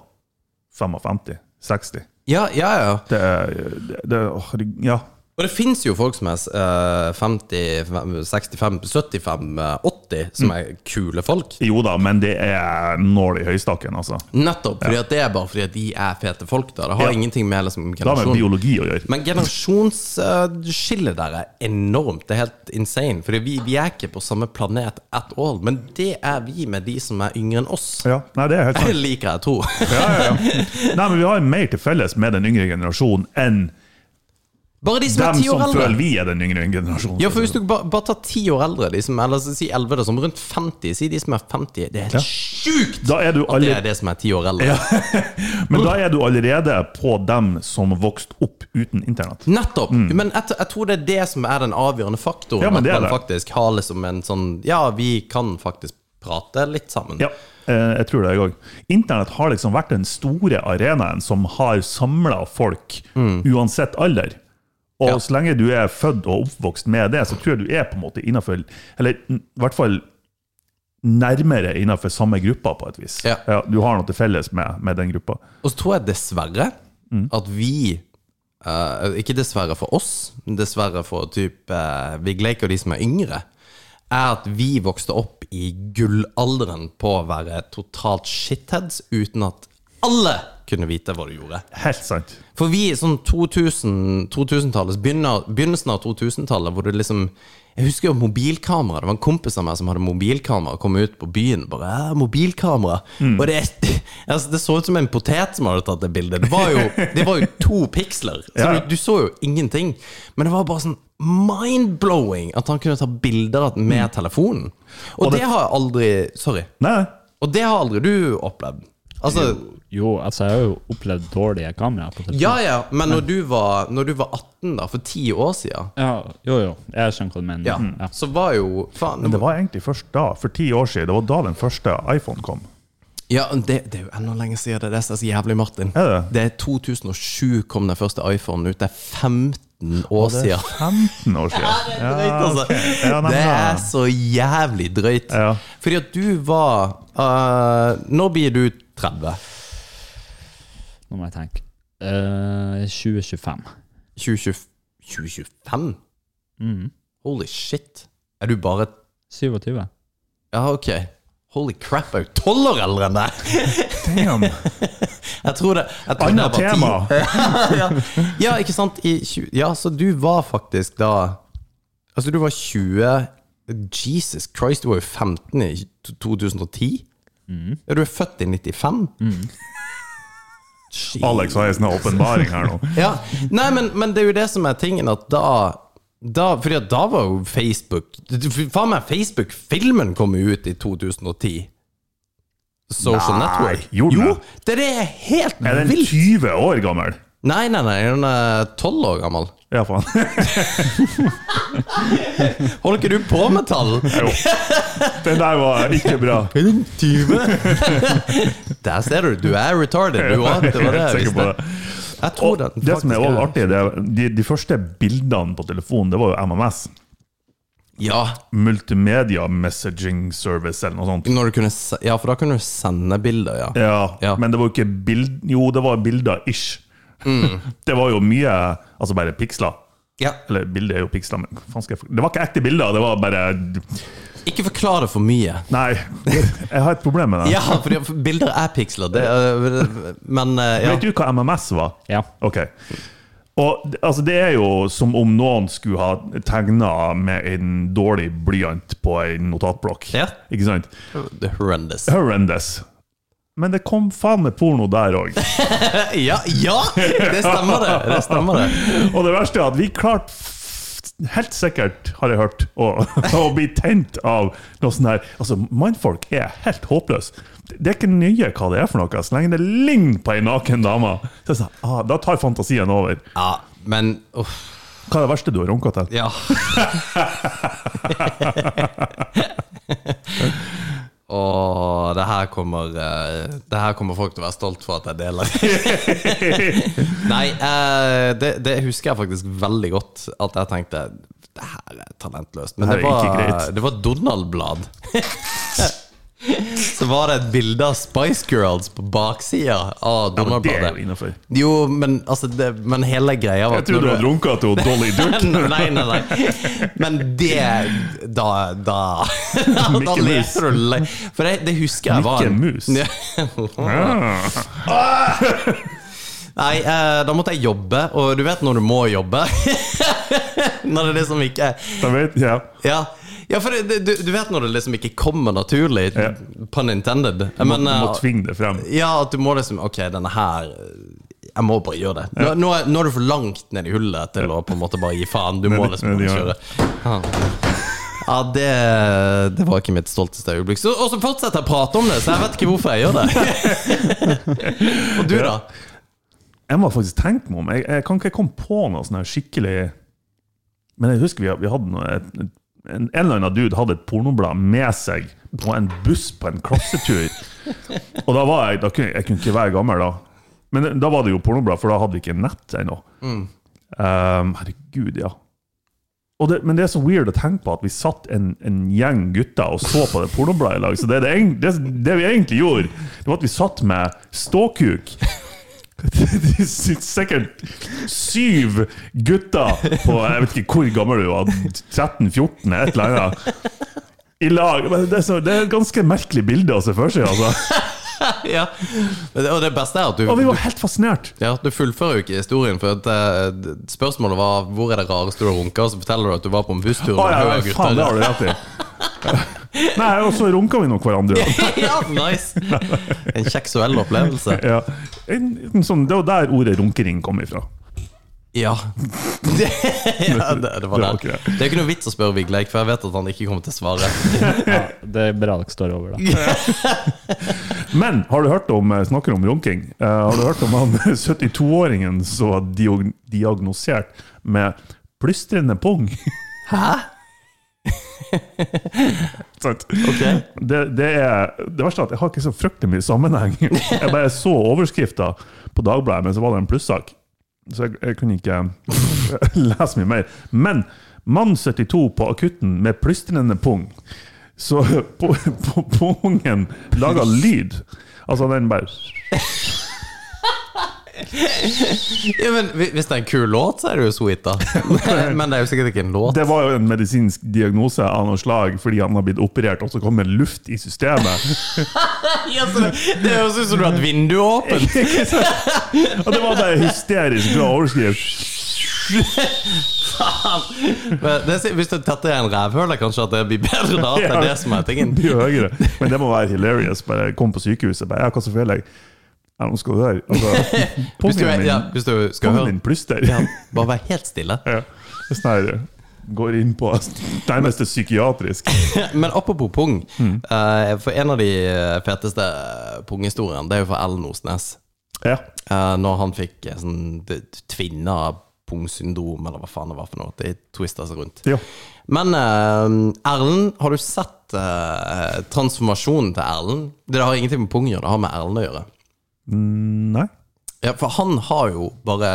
[SPEAKER 7] 55-60.
[SPEAKER 6] Ja, ja, ja.
[SPEAKER 7] Det er det, det, åh, det, Ja.
[SPEAKER 6] Og det fins jo folk som er eh, 50, 65, 75, eh, 80,
[SPEAKER 7] Mm.
[SPEAKER 6] som er kule folk.
[SPEAKER 7] Jo da, men det er nål i høystakken, altså.
[SPEAKER 6] Nettopp fordi at det er bare fordi at de er fete folk. da Det har
[SPEAKER 7] Ja.
[SPEAKER 6] ingenting med liksom,
[SPEAKER 7] Det har med
[SPEAKER 6] generasjon
[SPEAKER 7] biologi å gjøre.
[SPEAKER 6] Men generasjonsskillet der er enormt. Det er helt insane. Fordi vi, vi er ikke på samme planet at all. Men det er vi med de som er yngre enn oss.
[SPEAKER 7] Ja, nei, det er helt
[SPEAKER 6] Det
[SPEAKER 7] sant.
[SPEAKER 6] liker jeg å tro.
[SPEAKER 7] Ja, ja, ja. Nei, men vi har mer til felles med den yngre generasjonen enn
[SPEAKER 6] Bare de som
[SPEAKER 7] dem
[SPEAKER 6] er ti
[SPEAKER 7] som
[SPEAKER 6] år eldre.
[SPEAKER 7] føler vi er den yngre generasjonen.
[SPEAKER 6] Ja, for hvis du bare, bare tar ti år eldre, de som, eller så si elleve, da, som rundt 50, si de som er 50 Det er helt sjukt!
[SPEAKER 7] Da er du
[SPEAKER 6] At det
[SPEAKER 7] alle-
[SPEAKER 6] er det som er ti år eldre.
[SPEAKER 7] Men da er du allerede på dem som vokste opp uten internett.
[SPEAKER 6] Nettopp! Men jeg, jeg tror det er det som er den avgjørende faktoren.
[SPEAKER 7] Mm. Ja, men det er
[SPEAKER 6] at man
[SPEAKER 7] det.
[SPEAKER 6] faktisk har liksom en sånn Ja, vi kan faktisk prate litt sammen.
[SPEAKER 7] Ja, eh, jeg tror det, jeg òg. Internett har liksom vært den store arenaen som har samla folk, uansett alder. Og
[SPEAKER 6] Mm. Ja.
[SPEAKER 7] så lenge du er født og oppvokst med det, så tror jeg du er på en måte innafor Eller n- i hvert fall nærmere innafor samme gruppa, på et vis.
[SPEAKER 6] Ja.
[SPEAKER 7] du har noe til felles med, med den gruppa.
[SPEAKER 6] Og så tror jeg dessverre
[SPEAKER 7] Mm.
[SPEAKER 6] at vi eh, Ikke dessverre for oss, men dessverre for typ eh, Vigleik og de som er yngre, er at vi vokste opp i gullalderen på å være totalt shitheads uten at alle kunne vite hva du gjorde.
[SPEAKER 7] Helt sant.
[SPEAKER 6] For vi er sånn 2000, 2000-tallets begynner- Begynnelsen av 2000-tallet Hvor det liksom Jeg husker jo mobilkamera Det var en kompis av meg som hadde mobilkamera Kom ut på byen Bare, «Æ, mobilkamera Og det, altså, det så ut som en potet som hadde tatt det bildet Det var jo, det var jo to piksler Så
[SPEAKER 7] Ja.
[SPEAKER 6] du, du så jo ingenting Men det var bare sånn mind-blowing At han kunne ta bilder med telefonen Og, det, har jeg aldri Sorry
[SPEAKER 7] Nei,
[SPEAKER 6] Og det har aldri du opplevd Altså
[SPEAKER 8] Jo, altså, jeg har jo opplevd dårlige kameraer på telefonen.
[SPEAKER 6] Ja, ja, men når du var, når du var 18, da, for ti år siden,
[SPEAKER 8] Ja, jo, jo. Jeg skjønner hva du
[SPEAKER 7] Mm,
[SPEAKER 8] mener. Mm.
[SPEAKER 6] ja,
[SPEAKER 8] Ja.
[SPEAKER 6] så var jo faen,
[SPEAKER 7] men det var egentlig først da, for ti år siden. Det var da den første iPhone kom.
[SPEAKER 6] ja, det, det er jo enda lenge siden det. Det er så jævlig, Martin.
[SPEAKER 7] Er det?
[SPEAKER 6] er 2007 kom den første iPhonen ut. Det er 15 år
[SPEAKER 7] Det er
[SPEAKER 6] siden.
[SPEAKER 7] 15 år siden.
[SPEAKER 6] Det er drøyt, altså.
[SPEAKER 7] Ja, nei,
[SPEAKER 6] det
[SPEAKER 7] nei.
[SPEAKER 6] er så jævlig drøyt.
[SPEAKER 7] Ja.
[SPEAKER 6] Fordi at du var uh, Nå blir du 30.
[SPEAKER 8] Nå må jeg tenke. Eh, 2025.
[SPEAKER 6] 2020 2025?
[SPEAKER 7] Mm.
[SPEAKER 8] Mhm.
[SPEAKER 6] Holy shit. Er du bare
[SPEAKER 8] 27.
[SPEAKER 6] Ja, ok. Holy crap, jeg er jo 12 år eldre enn deg!
[SPEAKER 7] Damn.
[SPEAKER 6] Jeg tror det jeg tror det
[SPEAKER 7] Annet
[SPEAKER 6] var
[SPEAKER 7] tema.
[SPEAKER 6] ja. ja, ikke sant? I 20, ja, så du var faktisk da Altså, du var 20 Jesus Christ, du var jo 15 i to- 2010. Ja, du er født i 95.
[SPEAKER 7] Alex har en sånn åpenbaring her nå.
[SPEAKER 6] Ja. Nei, men, men det er jo det som er tingen, at da da, fordi at da var jo Facebook Faen meg, Facebook-filmen kom jo ut i 2010. Social Network.
[SPEAKER 7] gjorde den
[SPEAKER 6] jo,
[SPEAKER 7] det?
[SPEAKER 6] det er det helt
[SPEAKER 7] Er den
[SPEAKER 6] vilt!
[SPEAKER 7] 20 år gammel?
[SPEAKER 6] Nei, nei, nei, hun er 12 år gammel.
[SPEAKER 7] Ja, faen.
[SPEAKER 6] Holder ikke du på med tall?
[SPEAKER 7] Den der var ikke bra.
[SPEAKER 6] Der ser du, du er retarded, du òg. Det var det
[SPEAKER 7] Helt
[SPEAKER 6] jeg
[SPEAKER 7] sikker på
[SPEAKER 6] visste.
[SPEAKER 7] det.
[SPEAKER 6] Jeg tror
[SPEAKER 7] Og
[SPEAKER 6] den
[SPEAKER 7] det som er
[SPEAKER 6] faktisk
[SPEAKER 7] også artig, det er de, de første bildene på telefonen, det var jo MMS.
[SPEAKER 6] Ja,
[SPEAKER 7] Multimedia Messaging Service eller noe sånt.
[SPEAKER 6] når du kunne se, ja, for da kunne du sende bilder, ja.
[SPEAKER 7] Ja,
[SPEAKER 6] Ja.
[SPEAKER 7] Men det var jo ikke bild... Jo, det var bilder ish.
[SPEAKER 6] Mm.
[SPEAKER 7] Det var jo mye Altså bare piksler.
[SPEAKER 6] ja.
[SPEAKER 7] Eller bildet er jo piksler, men hva faen skal jeg for- Det var ikke ekte bilder, det var bare
[SPEAKER 6] Ikke forklar det for mye.
[SPEAKER 7] Nei. Jeg har et problem med det.
[SPEAKER 6] Ja, fordi bilder er piksler, det, øh, men øh, ja.
[SPEAKER 7] Vet du hva MMS var?
[SPEAKER 8] Ja.
[SPEAKER 7] Ok. Og altså, det er jo som om noen skulle ha tegna med en dårlig blyant på en notatblokk.
[SPEAKER 6] Ja.
[SPEAKER 7] Ikke sant?
[SPEAKER 6] Det er horrendous.
[SPEAKER 7] Horrendous. Men det kom faen meg porno der òg.
[SPEAKER 6] Ja, ja! Det stemmer, det. det, stemmer det.
[SPEAKER 7] Og det verste er at vi klarte f- Helt sikkert, har jeg hørt, å, å bli tent av noe sånn her Altså, mannfolk er helt håpløse. Det er ikke nøye hva det er for noe, så lenge det ligner på ei naken dame. Så jeg sa, ah, da tar fantasien over.
[SPEAKER 6] Ja, men uff,
[SPEAKER 7] Hva er det verste du har runka til?
[SPEAKER 6] ja. Åh, det her kommer øh, Det her kommer folk til å være stolt for at jeg deler. Nei, eh, det, det husker jeg faktisk veldig godt. At jeg tenkte det her er talentløst. Men
[SPEAKER 7] Det
[SPEAKER 6] det
[SPEAKER 7] her er ikke
[SPEAKER 6] var,
[SPEAKER 7] greit.
[SPEAKER 6] det var Donald-blad. Så var det et bilde av Spice Girls på baksida av
[SPEAKER 7] Ja, men det er jo
[SPEAKER 6] Donald-bladet.
[SPEAKER 7] innafor.
[SPEAKER 6] Jo, men, altså, det, men hele greia var
[SPEAKER 7] Jeg trodde du
[SPEAKER 6] når
[SPEAKER 7] hadde runka til Dolly Duck.
[SPEAKER 6] nei, nei, nei. Men det Da Da, da
[SPEAKER 7] Mikke
[SPEAKER 6] leser du le- For det, det husker jeg var
[SPEAKER 7] Mikke
[SPEAKER 6] en-
[SPEAKER 7] Mus. Ah.
[SPEAKER 6] Nei, eh, da måtte jeg jobbe, og du vet når du må jobbe. når det liksom ikke
[SPEAKER 7] Da vet jeg.
[SPEAKER 6] Ja, ja for det, det- du, du vet når det liksom ikke kommer naturlig.
[SPEAKER 7] Ja.
[SPEAKER 6] Pun intended.
[SPEAKER 7] Du må, du må
[SPEAKER 6] eh,
[SPEAKER 7] tvinge det frem.
[SPEAKER 6] Ja, at du må liksom Ok, denne her eh, Jeg må bare gjøre det. Nå, nå, er, nå er du for langt ned i hullet til å på en måte bare gi faen. Du må
[SPEAKER 7] Ned i-
[SPEAKER 6] liksom
[SPEAKER 7] ned i
[SPEAKER 6] bare kjøre.
[SPEAKER 7] hjørnet.
[SPEAKER 6] Ja, ja det, det var ikke mitt stolteste øyeblikk. Så- Og så fortsetter jeg å prate om det, så jeg vet ikke hvorfor jeg gjør det. Og du, da?
[SPEAKER 7] Jeg må faktisk tenke meg om. Jeg, jeg kan ikke komme på noe sånn her skikkelig Men jeg husker vi, vi hadde noe et- en, en eller annen dude hadde et pornoblad med seg på en buss på en klassetur. Og da var jeg da kunne, Jeg kunne ikke være gammel da. Men da var det jo pornoblad, for da hadde vi ikke nett ennå. Um, herregud, ja. Og det, men det er så weird å tenke på at vi satt en, en gjeng gutter og så på det pornobladet i lag. Så det, er det, egent- det, det vi egentlig gjorde, det var at vi satt med ståkuk. Det sitter sikkert syv gutter på jeg vet ikke hvor gammel du var, 13-14, et eller annet. I lag. Men Det er, så, det er et ganske merkelig bilde å se for seg. Altså.
[SPEAKER 6] Ja. Men det- Og det beste er at du,
[SPEAKER 7] Og vi
[SPEAKER 6] du
[SPEAKER 7] var helt fascinert.
[SPEAKER 6] ja, Du fullfører jo ikke historien, for at, eh, d- spørsmålet var hvor er det rareste du har runka, og så forteller du at du var på en busstur
[SPEAKER 7] Å
[SPEAKER 6] med
[SPEAKER 7] ja,
[SPEAKER 6] høye
[SPEAKER 7] faen, det har
[SPEAKER 6] gutter.
[SPEAKER 7] du rett i. Nei, og så runka vi nå hverandre.
[SPEAKER 6] ja, nice! En seksuell opplevelse.
[SPEAKER 7] Ja. En, en sånn, det var der ordet runkering kom ifra.
[SPEAKER 6] Ja. Det, ja, det, det var
[SPEAKER 7] Det var
[SPEAKER 6] det.
[SPEAKER 7] ikke det.
[SPEAKER 6] Det er ikke noe vits å spørre Vigleik, for jeg vet at han ikke kommer til svaret.
[SPEAKER 8] Ja, det er bra dere står over, da.
[SPEAKER 7] Men har du hørt om eh, snakker om runking? eh, har du hørt om han 72-åringen som var diog- diagnosert med plystrende pung?
[SPEAKER 6] Hæ?
[SPEAKER 7] Sant?
[SPEAKER 6] Ok.
[SPEAKER 7] Det, det, er, det verste er at jeg har ikke så fryktelig mye sammenheng. Jeg bare så overskrifta på Dagbladet, men så var det en plussak. Så jeg, jeg kunne ikke lese mye mer. Men mann 72 på akutten med plystrende pung. Så på, på, pungen laga lyd. Altså den bare
[SPEAKER 6] Ja, men hvi- Hvis det er en kul låt, så er det jo sweet, da. Men, men det er jo sikkert ikke en låt.
[SPEAKER 7] Det var jo en medisinsk diagnose av noe slag fordi han har blitt operert, og så kommer luft i systemet.
[SPEAKER 6] Ja, så det det høres ut som du har et vindu åpent.
[SPEAKER 7] Ikke sant? og det var bare hysterisk bra overskrift.
[SPEAKER 6] Men det, er si- hvis du tetter i en rævhøl, er kanskje at det blir bedre da. At det er det som er tingen.
[SPEAKER 7] Blir jo høyere. Men det må være hilarious. Bare kom på sykehuset, bare ja, hva som feiler deg? Ja, nå skal du høre. Altså,
[SPEAKER 6] Hvis du, er-
[SPEAKER 7] pungen
[SPEAKER 6] ja,
[SPEAKER 7] min,
[SPEAKER 6] hvis du skal
[SPEAKER 7] pungen
[SPEAKER 6] høre
[SPEAKER 7] min plystrer.
[SPEAKER 6] ja, Bare vær helt stille.
[SPEAKER 7] Ja. Det er sånn her Går inn på nærmeste psykiatrisk.
[SPEAKER 6] Men apropos pung, eh, for en av de feteste punghistoriene, det er jo fra Ellen Osnes.
[SPEAKER 7] Ja.
[SPEAKER 6] Eh, når han fikk eh, sånn det- tvinna pungsyndrom, eller hva faen det var for noe. De twista seg rundt.
[SPEAKER 7] ja.
[SPEAKER 6] Men eh, Erlend, har du sett eh, transformasjonen til Erlend? Det har ingenting med pung å gjøre, det har med Erlend å gjøre.
[SPEAKER 7] Mm, Nei.
[SPEAKER 6] Ja, For han har jo bare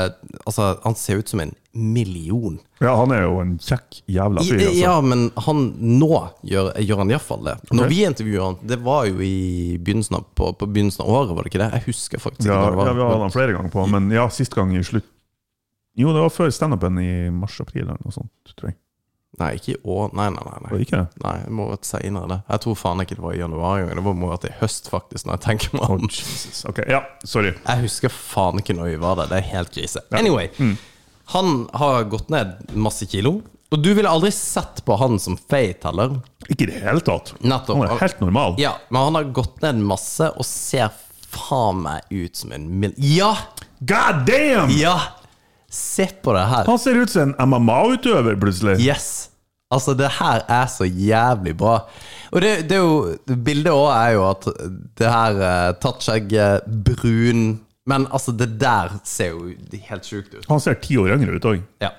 [SPEAKER 6] Altså, han ser ut som en million.
[SPEAKER 7] Ja, han er jo en kjekk jævla fyr. Altså.
[SPEAKER 6] Ja, men han nå gjør, gjør han iallfall det. Når vi intervjuer han, det var jo i begynnelsen av, på, på begynnelsen av året, var det ikke det? Jeg husker faktisk ikke
[SPEAKER 7] Ja,
[SPEAKER 6] når det
[SPEAKER 7] ja,
[SPEAKER 6] var.
[SPEAKER 7] vi har hatt han flere ganger på, men ja, sist gang i slutt Jo, det var før standupen i mars-april eller noe sånt, tror jeg.
[SPEAKER 6] Nei, ikke i år. Nei, nei, nei. nei.
[SPEAKER 7] Var det ikke det?
[SPEAKER 6] Nei, det må ha vært seinere, det. Jeg tror faen ikke det var i januar engang. Det var- må ha vært i høst, faktisk, når jeg tenker meg
[SPEAKER 7] Å,
[SPEAKER 6] om.
[SPEAKER 7] Jesus. Ok, ja, sorry.
[SPEAKER 6] Jeg husker faen ikke når vi var der. Det er helt krise. Anyway, han har gått ned masse kilo. Og du ville aldri sett på han som feit heller.
[SPEAKER 7] Ikke i det hele tatt.
[SPEAKER 6] Nettopp.
[SPEAKER 7] Han er helt normal.
[SPEAKER 6] Ja, men han har gått ned masse og ser faen meg ut som en mil... Ja!
[SPEAKER 7] God damn!
[SPEAKER 6] Ja! Se på det her.
[SPEAKER 7] Han ser ut som en MMA-utøver, plutselig.
[SPEAKER 6] Yes! Altså, det her er så jævlig bra. Og det, det er jo Bildet òg er jo at det her eh, tatt skjegg, eh, brun Men altså, det der ser jo helt sjukt ut.
[SPEAKER 7] Han ser ti år yngre ut òg.
[SPEAKER 6] Ja.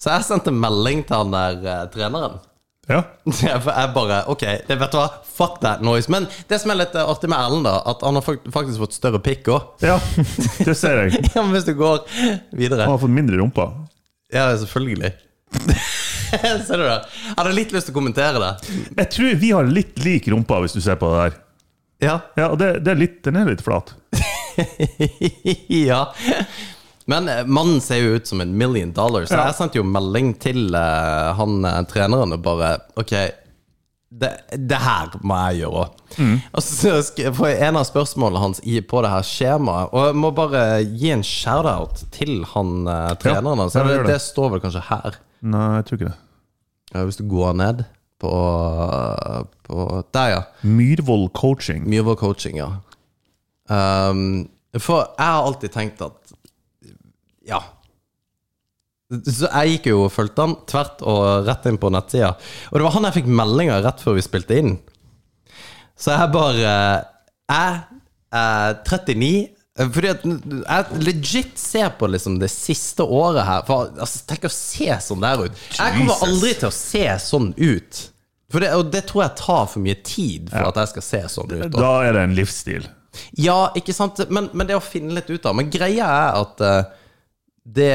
[SPEAKER 6] Så jeg sendte melding til han der eh, treneren.
[SPEAKER 7] Ja.
[SPEAKER 6] Jeg jeg bare OK, det, vet du hva, fuck that noise. Men det som er litt eh, artig med Erlend, da, at han har fakt- faktisk fått større pikk òg.
[SPEAKER 7] ja, det ser jeg.
[SPEAKER 6] Ja, men hvis du går videre
[SPEAKER 7] Han har fått mindre rumpa.
[SPEAKER 6] Ja, selvfølgelig. Ser du det? Jeg hadde litt lyst til å kommentere det.
[SPEAKER 7] Jeg tror vi har litt lik rumpa, hvis du ser på det der.
[SPEAKER 6] Ja.
[SPEAKER 7] Ja, og det, det er litt, Den er litt flat.
[SPEAKER 6] ja. Men eh, mannen ser jo ut som en million dollars. Så
[SPEAKER 7] Ja.
[SPEAKER 6] Jeg sendte jo melding til eh, han eh, treneren og bare OK, det, det her må jeg gjøre.
[SPEAKER 7] Mm.
[SPEAKER 6] Og så sk- får jeg en av spørsmålene hans i på det her skjemaet. Og jeg må bare gi en shout-out til han eh, treneren hans.
[SPEAKER 7] ja,
[SPEAKER 6] det,
[SPEAKER 7] gjør det.
[SPEAKER 6] det står vel kanskje her.
[SPEAKER 7] Nei, jeg tror ikke det.
[SPEAKER 6] Ja, Hvis du går ned på, på Der, ja.
[SPEAKER 7] Myrvoll coaching.
[SPEAKER 6] Mye over coaching, ja. Ehm, for jeg har alltid tenkt at Ja. Så jeg gikk jo og fulgte han tvert og rett inn på nettsida. Og det var han jeg fikk meldinger rett før vi spilte inn. Så jeg bare Jeg er 39 fordi at jeg legit ser på liksom det siste året her. For altså, Tenk å se sånn der ut. Jeg kommer aldri til å se sånn ut. For det, og det tror jeg tar for mye tid for at jeg skal se sånn ut.
[SPEAKER 7] Da er det en livsstil.
[SPEAKER 6] Ja, ikke sant? Men, men det å finne litt ut av Men greia er at eh, det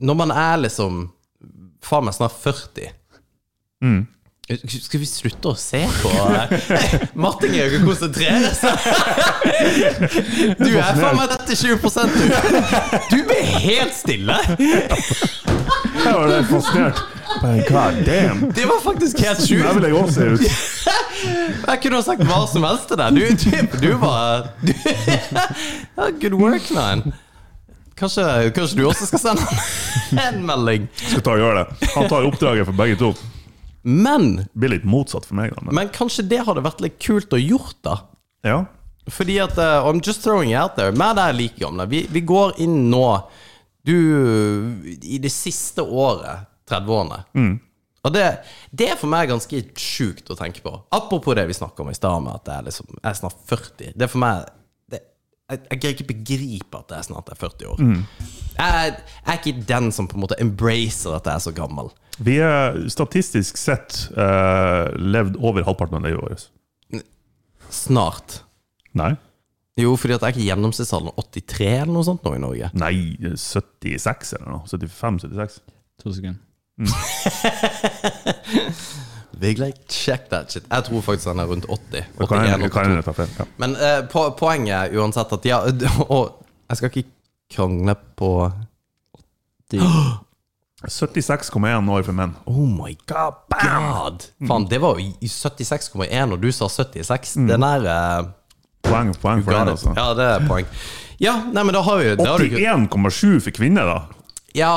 [SPEAKER 6] Når man er liksom faen meg snart 40
[SPEAKER 7] Mm.
[SPEAKER 6] Skal vi slutte å se på eh, Martin Gauge konsentrere seg? Du er faen meg dette 20 du. Du blir helt stille!
[SPEAKER 7] Jeg var litt fascinert. Bare, God damn!
[SPEAKER 6] Det var faktisk helt sjukt.
[SPEAKER 7] Der vil jeg også se ut.
[SPEAKER 6] Jeg kunne ha sagt hva som helst til deg. Du, du, du var du, Ja, Good work, man. Kanskje, kanskje du også skal sende en melding.
[SPEAKER 7] Skal ta og gjøre det. Han tar oppdraget for begge to.
[SPEAKER 6] Men,
[SPEAKER 7] Blir litt motsatt for meg, da. Men.
[SPEAKER 6] men kanskje det hadde vært litt kult å gjort, da.
[SPEAKER 7] Ja.
[SPEAKER 6] Fordi at eh, I'm just throwing it out there. Meg og deg er like gamle. Vi, vi går inn nå Du I det siste året, 30-årene. Og det, det er for meg ganske sjukt å tenke på. Apropos det vi snakka om i stad, med at jeg er, liksom, jeg er snart 40. Det er for meg det, jeg, jeg greier ikke begripe at jeg snart er 40 år. Jeg, jeg er ikke den som på en måte embracer at jeg er så gammel.
[SPEAKER 7] Vi er statistisk sett eh, levd over halvparten av livet vårt.
[SPEAKER 6] Snart.
[SPEAKER 7] Nei.
[SPEAKER 6] Jo, fordi at jeg er ikke gjennomsnittsalderen 83 eller noe sånt nå i Norge.
[SPEAKER 7] Nei, 76 eller noe. 75-76.
[SPEAKER 8] To sekunder.
[SPEAKER 6] Vigleik, check that shit. Jeg tror faktisk han er rundt 80.
[SPEAKER 7] Det kan
[SPEAKER 6] 81,
[SPEAKER 7] hende- kan
[SPEAKER 6] 82.
[SPEAKER 7] hende jeg tar feil. Ja.
[SPEAKER 6] Men eh, po poenget er uansett at ja, Og jeg skal ikke krangle på
[SPEAKER 8] De,
[SPEAKER 7] 76,1 år for menn.
[SPEAKER 6] Oh my god! God! Faen, det var jo i 76,1, og du sa 76. Det der eh,
[SPEAKER 7] Poeng, poeng for
[SPEAKER 6] got
[SPEAKER 7] den,
[SPEAKER 6] it.
[SPEAKER 7] Mm. altså.
[SPEAKER 6] Ja, det er poeng. Ja, nei, men da har vi det har du ikke-
[SPEAKER 7] 81,7 for kvinner, da.
[SPEAKER 6] Ja,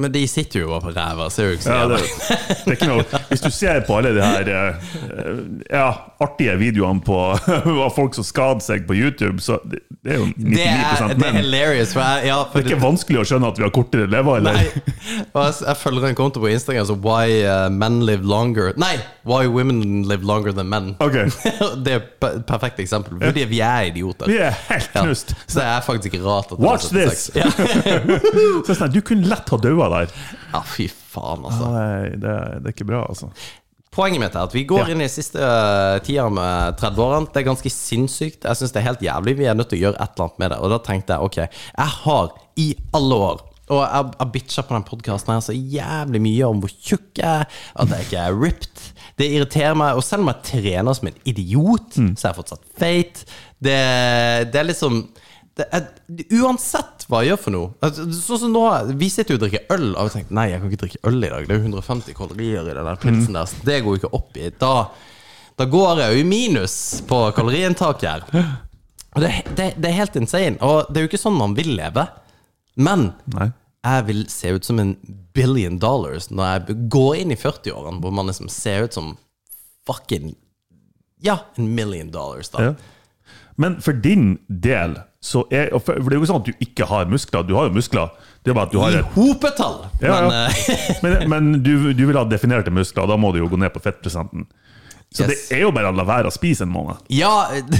[SPEAKER 6] men de sitter jo bare på ræva, ser jo ikke så
[SPEAKER 7] Ja, det,
[SPEAKER 6] jævla
[SPEAKER 7] det er ikke noe. Hvis du ser på alle de her eh, ja, artige videoene på av folk som skader seg på YouTube, så det, det er jo
[SPEAKER 6] Det er,
[SPEAKER 7] 99
[SPEAKER 6] det er
[SPEAKER 7] menn. Det
[SPEAKER 6] hilarious. For jeg, ja, for
[SPEAKER 7] er ikke vanskelig å skjønne at vi har kortere lever,
[SPEAKER 6] Nei,
[SPEAKER 7] eller?
[SPEAKER 6] og jeg, jeg følger en konto på Instagram som Why eh, men live longer Nei! Why women live longer than men.
[SPEAKER 7] Ok.
[SPEAKER 6] det er et perfekt eksempel, fordi vi er idioter.
[SPEAKER 7] Vi er helt
[SPEAKER 6] Ja.
[SPEAKER 7] knust.
[SPEAKER 6] Så det er sånn faktisk ikke rart at det
[SPEAKER 7] Watch
[SPEAKER 6] var 76.
[SPEAKER 7] this! Så sånn, du kunne lett ha daua der.
[SPEAKER 6] Ja, fy faen, altså.
[SPEAKER 7] Nei, det, det er ikke bra, altså.
[SPEAKER 6] Poenget mitt er at vi går
[SPEAKER 7] Ja.
[SPEAKER 6] inn i siste uh, tida med 30-årene. Det er ganske sinnssykt. Jeg syns det er helt jævlig. Vi er nødt til å gjøre et eller annet med det. Og da tenkte jeg ok, jeg har i alle år og jeg, jeg bitcha på den podkasten her så jævlig mye om hvor tjukk jeg er, at jeg ikke er ripped. Det irriterer meg. Og selv om jeg trener som en idiot, så er jeg fortsatt feit. Det, det er liksom det er, Uansett hva jeg gjør for noe altså, Sånn som nå, Vi sitter jo og drikker øl, og jeg tenkte nei, jeg kan ikke drikke øl i dag. Det er jo 150 kalorier i den der pilsen der, så det går jo ikke opp i. Da, da går jeg jo i minus på kaloriinntaket her. Og det, det, det er helt insane. Og det er jo ikke sånn man vil leve. Men
[SPEAKER 7] Nei.
[SPEAKER 6] jeg vil se ut som en billion dollars når jeg b- går inn i 40-årene, hvor man liksom ser ut som fucking Ja, en million dollars, da.
[SPEAKER 7] Ja. Men for din del så er og For for det er jo ikke sånn at du ikke har muskler. Du har jo muskler. Det er bare at du har
[SPEAKER 6] I
[SPEAKER 7] et
[SPEAKER 6] hopetall!
[SPEAKER 7] Ja,
[SPEAKER 6] Men
[SPEAKER 7] ja.
[SPEAKER 6] eh,
[SPEAKER 7] Men, men du, du vil ha definerte muskler, da må du jo gå ned på fettprosenten. Så
[SPEAKER 6] Yes.
[SPEAKER 7] det er jo bare å la være å spise en måned.
[SPEAKER 6] Ja,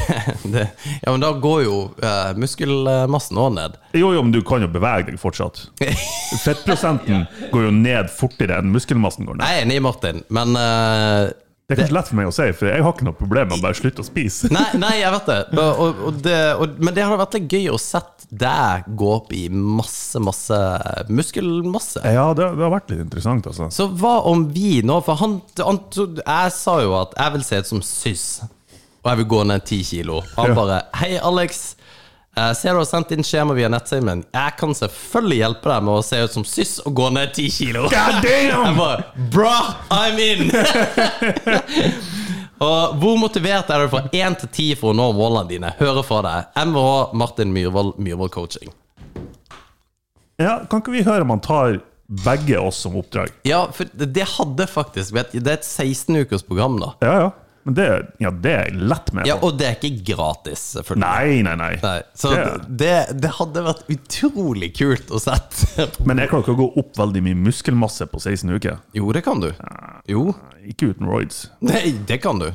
[SPEAKER 6] det, ja, men da går jo eh, muskelmassen òg ned.
[SPEAKER 7] Jo, jo, men du kan jo bevege deg fortsatt. Fettprosenten går jo ned fortere enn muskelmassen går ned.
[SPEAKER 6] Jeg er enig, Martin, men eh,
[SPEAKER 7] Det er kanskje lett for meg å si, for jeg har ikke noe problem med å bare slutte å spise.
[SPEAKER 6] Nei, nei, jeg vet det. Og, og, og det og, men det hadde vært litt gøy å sett deg gå opp i masse, masse muskelmasse.
[SPEAKER 7] Ja, det, det har vært litt interessant, altså.
[SPEAKER 6] Så hva om vi nå For han, han trodde- Jeg sa jo at jeg vil se ut som Syss, og jeg vil gå ned ti kilo. Han
[SPEAKER 7] Ja.
[SPEAKER 6] bare Hei, Alex. Jeg ser du har sendt inn skjema via nettsiden min. Jeg kan selvfølgelig hjelpe deg med å se ut som Syss og gå ned ti kilo.
[SPEAKER 7] God
[SPEAKER 6] Jeg
[SPEAKER 7] damn!
[SPEAKER 6] bare Bruh, I'm in! Og hvor motivert er du fra 1 til 10 for å nå målene dine? Hører fra deg. MVH Martin Myhrvold, Myhrvold Coaching.
[SPEAKER 7] Ja, kan ikke vi høre om han tar begge oss som oppdrag?
[SPEAKER 6] Ja, for det det hadde faktisk vet, Det er et 16-ukers program, da.
[SPEAKER 7] Ja, ja. Men det, ja, det er jeg lett med.
[SPEAKER 6] Ja,
[SPEAKER 7] på.
[SPEAKER 6] Og det er ikke gratis, selvfølgelig.
[SPEAKER 7] Nei, nei, nei.
[SPEAKER 6] Nei, så
[SPEAKER 7] Det-
[SPEAKER 6] det, det hadde vært utrolig kult å sette.
[SPEAKER 7] Men jeg klarer ikke å gå opp veldig mye muskelmasse på 16 uker.
[SPEAKER 6] Jo, det kan du. Jo,
[SPEAKER 7] Ikke uten roids.
[SPEAKER 6] Nei, det kan du.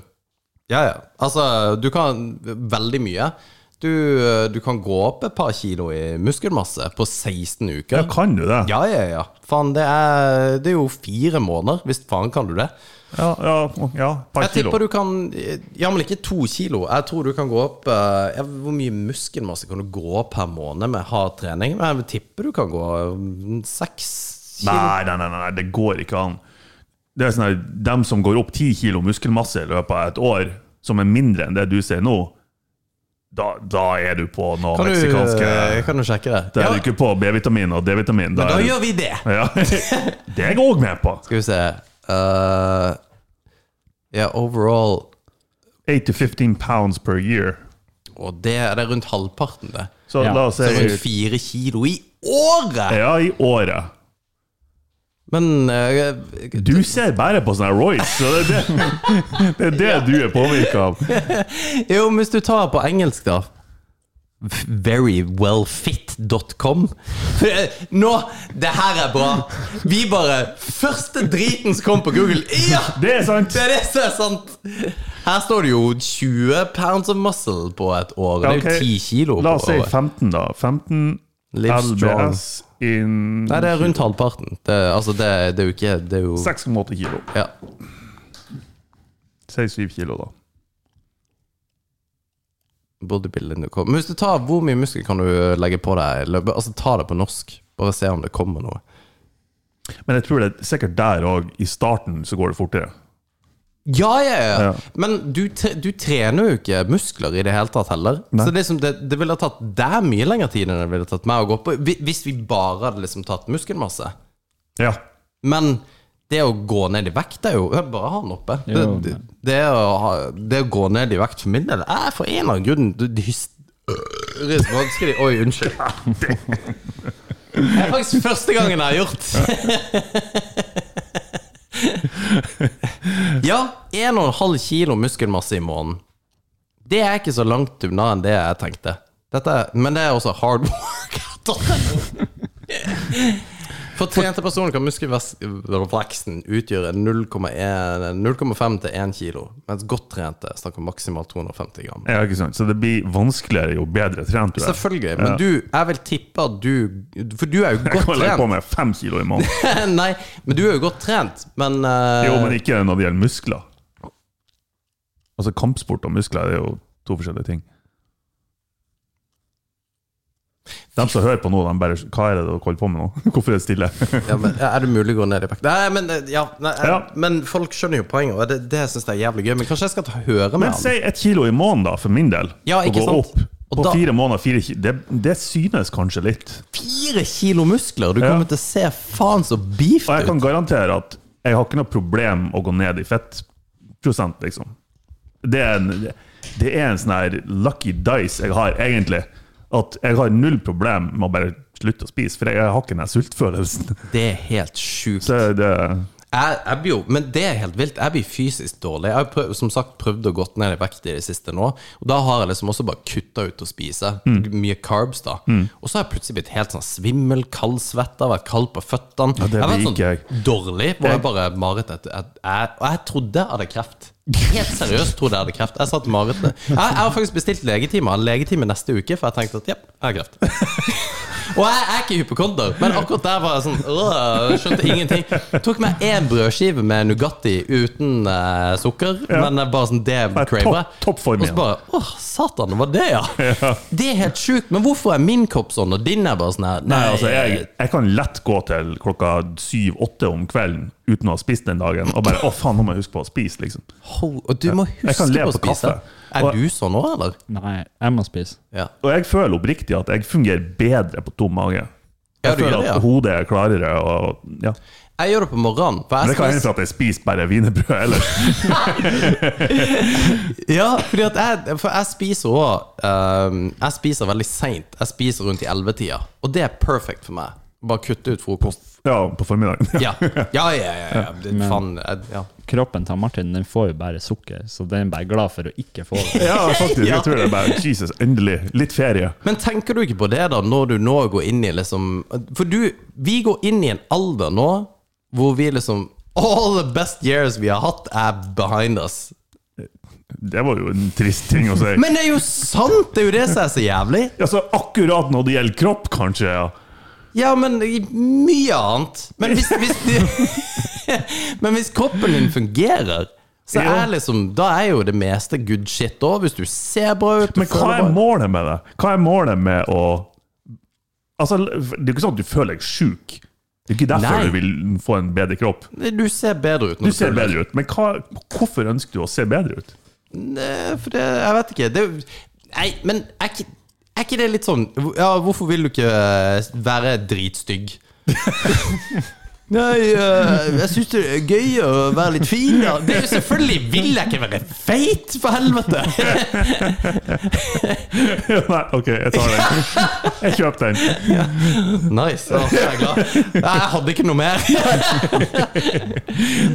[SPEAKER 6] Ja, ja. Altså, du kan veldig mye. Du, eh, du kan gå opp et par kilo i muskelmasse på 16
[SPEAKER 7] Ja,
[SPEAKER 6] uker.
[SPEAKER 7] kan du det?
[SPEAKER 6] Ja, ja, ja. Faen, det er, det er jo fire måneder. Hvis faen kan du det.
[SPEAKER 7] Ja, ja, ja par
[SPEAKER 6] Jeg
[SPEAKER 7] kilo.
[SPEAKER 6] tipper du kan Ja, men ikke to kilo. Jeg tror du kan gå opp eh, ja, Hvor mye muskelmasse kan du gå opp per måned med hard trening? Men Jeg tipper du kan gå mm, seks kilo.
[SPEAKER 7] Nei, nei, nei, nei, det går ikke an. Det er sånn her, Dem som går opp 10 kilo muskelmasse i løpet av et år, som er mindre enn det du sier nå, da, da er du på noe
[SPEAKER 6] Kan du, eh,
[SPEAKER 7] meksikanske
[SPEAKER 6] kan du sjekke det?
[SPEAKER 7] Da er
[SPEAKER 6] Ja,
[SPEAKER 7] du ikke på B-vitamin og
[SPEAKER 6] men
[SPEAKER 7] D-vitamin.
[SPEAKER 6] da
[SPEAKER 7] er du-
[SPEAKER 6] gjør vi det!
[SPEAKER 7] ja. Det er jeg òg med på.
[SPEAKER 6] Skal vi se Eh, Ja, overall
[SPEAKER 7] 8-15 pounds per year.
[SPEAKER 6] Og det, det er rundt halvparten, det.
[SPEAKER 7] Så
[SPEAKER 8] Ja,
[SPEAKER 7] la oss
[SPEAKER 6] Så rundt
[SPEAKER 7] si
[SPEAKER 6] fire kilo i året!
[SPEAKER 7] Ja, i året.
[SPEAKER 6] Men eh,
[SPEAKER 7] Du ser bare på sånne Royce, så det er det, det, er det du er påvirka av.
[SPEAKER 6] Jo, men hvis du tar på engelsk, da Verywellfit.com. For, eh, Nå! Det her er bra! Vi bare Første driten som kom på Google. Ja!
[SPEAKER 7] Det er sant!
[SPEAKER 6] Det er det som er sant! Her står det jo 20 pounds of muscle på et år. Det er jo
[SPEAKER 7] Ok,
[SPEAKER 6] 10 kilo.
[SPEAKER 7] La
[SPEAKER 6] på
[SPEAKER 7] oss si
[SPEAKER 6] året.
[SPEAKER 7] 15, da. 15
[SPEAKER 6] Live strong.
[SPEAKER 7] LBS in
[SPEAKER 6] Nei, det er rundt halvparten. Det, altså, det, det er jo ikke Det er jo
[SPEAKER 7] 6,8 kilo.
[SPEAKER 6] ja.
[SPEAKER 7] Si 7 kilo, da.
[SPEAKER 6] bodybuilding du kommer Men hvis du tar hvor mye muskel kan du eh, legge på deg? i løpet- Altså, ta det på norsk. Bare se om det kommer noe.
[SPEAKER 7] Men jeg tror det er sikkert der òg. I starten så går det fortere.
[SPEAKER 6] Ja, ja, ja.
[SPEAKER 7] Ja.
[SPEAKER 6] Men du, tre- du trener jo ikke muskler i det hele tatt heller. Så det, er som det, det ville ha tatt deg mye lengre tid enn det ville tatt meg å gå opp på hvi- hvis vi bare hadde liksom tatt muskelmasse.
[SPEAKER 7] Ja.
[SPEAKER 6] Men det å gå ned i vekt er jo det er Bare ha den oppe. Det,
[SPEAKER 8] Jo,
[SPEAKER 6] det, det, å ha, det å gå ned i vekt for min del er for en eller annen grunn det- det hysterisk vanskelig. Oi, unnskyld. Det er faktisk første gangen jeg har gjort. Ja, 1,5 kilo muskelmasse i måneden. Det er ikke så langt unna enn det jeg tenkte. Dette, er- men det er også hard workout. For trente personer kan muskelveksten utgjøre 0,1 0,5 til 1 kilo, mens godt trente snakker maksimalt 250 gram.
[SPEAKER 7] ja, ikke sant? Så det blir vanskeligere jo bedre trent du er.
[SPEAKER 6] Selvfølgelig, men du, jeg vil tippe at du For du er jo
[SPEAKER 7] Jeg
[SPEAKER 6] godt
[SPEAKER 7] kan legge på
[SPEAKER 6] trent.
[SPEAKER 7] meg 5 kilo i måneden.
[SPEAKER 6] Nei, men du er jo godt trent, men eh,
[SPEAKER 7] Jo, men ikke når det gjelder muskler. Altså kampsport og muskler det er jo to forskjellige ting. De som hører på nå, de bare Hva er det dere holder på med nå? Hvorfor er det stille?
[SPEAKER 6] ja, men Er det mulig å gå ned i vekt? Nei, men, eh, ja, nei, eh,
[SPEAKER 7] Ja.
[SPEAKER 6] men folk skjønner jo poenget, og det, det syns jeg er jævlig gøy. Men kanskje jeg skal ta høre med
[SPEAKER 7] Men
[SPEAKER 6] han?
[SPEAKER 7] si ett kilo i måneden, da, for min del.
[SPEAKER 6] Ja, ikke
[SPEAKER 7] å gå
[SPEAKER 6] sant?
[SPEAKER 7] opp.
[SPEAKER 6] Og
[SPEAKER 7] På
[SPEAKER 6] da-
[SPEAKER 7] fire måneder, fire kilo det, det synes kanskje litt.
[SPEAKER 6] Fire kilo muskler! Du
[SPEAKER 7] Ja.
[SPEAKER 6] kommer til å se faen så beefed
[SPEAKER 7] Og jeg
[SPEAKER 6] ut!
[SPEAKER 7] kan garantere at jeg har ikke noe problem å gå ned i fettprosent, liksom. Det er en, det er en sånn her lucky dice jeg har, egentlig. At jeg har null problem med å bare slutte å spise, for jeg har ikke den her sultfølelsen.
[SPEAKER 6] Det er helt sjukt.
[SPEAKER 7] Så det,
[SPEAKER 6] jeg, jeg blir jo, men det er helt vilt. Jeg blir fysisk dårlig. Jeg har prøv, som sagt prøvd å gå ned i vekt i det siste nå. Og da har jeg liksom også bare kutta ut å spise.
[SPEAKER 7] Mm.
[SPEAKER 6] Mye carbs, da. Og så har jeg plutselig blitt helt sånn svimmel, kaldsvetta, vært kald på føttene.
[SPEAKER 7] det
[SPEAKER 6] jeg har vært
[SPEAKER 7] liker jeg.
[SPEAKER 6] sånn dårlig, hvor jeg bare maret et, et, jeg- Og jeg trodde jeg hadde kreft. Helt seriøst trodde jeg hadde kreft. Jeg satt i marerittet. Jeg, jeg har faktisk bestilt legetime legetime neste uke, for jeg tenkte at ja, jeg har kreft. Og jeg er ikke hypokonder, men akkurat der var jeg sånn øh, Skjønte ingenting. Tok meg én brødskive med Nugatti uten eh, sukker, men jeg bare sånn det
[SPEAKER 7] Bare
[SPEAKER 6] craver jeg.
[SPEAKER 7] topp- toppform
[SPEAKER 6] Og så
[SPEAKER 7] igjen.
[SPEAKER 6] bare åh, satan, det var det, ja? Det er helt sjukt. Men hvorfor er min kropp sånn, og din er bare sånn her?
[SPEAKER 7] Nei, altså, jeg, jeg kan lett gå til klokka syv-åtte om kvelden uten å ha spist den dagen, og bare 'Å, faen, nå må jeg huske på å spise', liksom.
[SPEAKER 6] Ho- Og du må
[SPEAKER 7] Jeg
[SPEAKER 6] huske
[SPEAKER 7] kan le
[SPEAKER 6] på å
[SPEAKER 7] på
[SPEAKER 6] spise.
[SPEAKER 7] kaffe.
[SPEAKER 6] Er
[SPEAKER 7] Og-
[SPEAKER 6] du sånn nå, eller?
[SPEAKER 8] Nei, jeg må spise.
[SPEAKER 6] Ja.
[SPEAKER 7] Og jeg føler oppriktig at jeg fungerer bedre på tom mage.
[SPEAKER 6] Ja,
[SPEAKER 7] Jeg
[SPEAKER 6] du gjør
[SPEAKER 7] føler at
[SPEAKER 6] det, ja.
[SPEAKER 7] hodet er klarere. Og, ja.
[SPEAKER 6] Jeg gjør det på morgenen. For
[SPEAKER 7] Men
[SPEAKER 6] jeg
[SPEAKER 7] det kan
[SPEAKER 6] skal
[SPEAKER 7] hende for at jeg spiser bare wienerbrød ellers.
[SPEAKER 6] Ja, fordi at jeg, for jeg spiser òg Jeg spiser veldig seint. Jeg spiser rundt i 11-tida og det er perfekt for meg. Bare kutte ut frokost.
[SPEAKER 7] Ja, på formiddagen.
[SPEAKER 6] Ja, ja, ja. ja, ja, ja. Det, faen, jeg, ja.
[SPEAKER 8] Kroppen til Martin den får jo bare sukker, så den er bare glad for å ikke få det.
[SPEAKER 7] Ja, faktisk. Jeg tror det er bare Jesus, endelig. Litt ferie.
[SPEAKER 6] Men tenker du ikke på det, da, når du nå går inn i liksom For du Vi går inn i en alder nå hvor vi liksom All the best years vi har hatt, er behind us.
[SPEAKER 7] Det var jo en trist ting å si.
[SPEAKER 6] Men det er jo sant! Det er jo det som er så jævlig.
[SPEAKER 7] Altså, akkurat når det gjelder kropp, kanskje. ja.
[SPEAKER 6] Ja, men i mye annet. Men hvis, hvis, men hvis kroppen din fungerer, så
[SPEAKER 7] Ja.
[SPEAKER 6] er liksom, da er jo det meste good shit òg, hvis du ser bra ut. du
[SPEAKER 7] Men hva
[SPEAKER 6] føler
[SPEAKER 7] er
[SPEAKER 6] bra-
[SPEAKER 7] målet med det? Hva er målet med å Altså, Det er jo ikke sånn at du føler deg sjuk. Det er ikke derfor
[SPEAKER 6] Nei.
[SPEAKER 7] du vil få en bedre kropp.
[SPEAKER 6] Du ser bedre ut. når
[SPEAKER 7] Du ser
[SPEAKER 6] føler-
[SPEAKER 7] bedre ut, men hva, hvorfor ønsker du å se bedre ut?
[SPEAKER 6] Nei, For det, jeg vet ikke. Det, nei, men er ikke, er ikke det litt sånn Ja, hvorfor vil du ikke eh, være dritstygg? Nei, eh, jeg syns det er gøy å være litt fin, da. Det er jo selvfølgelig vil jeg ikke være feit, for helvete!
[SPEAKER 7] Nei, OK, jeg tar den. Jeg kjøper den.
[SPEAKER 6] Nice. Å, jeg er glad. Nei, jeg hadde ikke noe mer.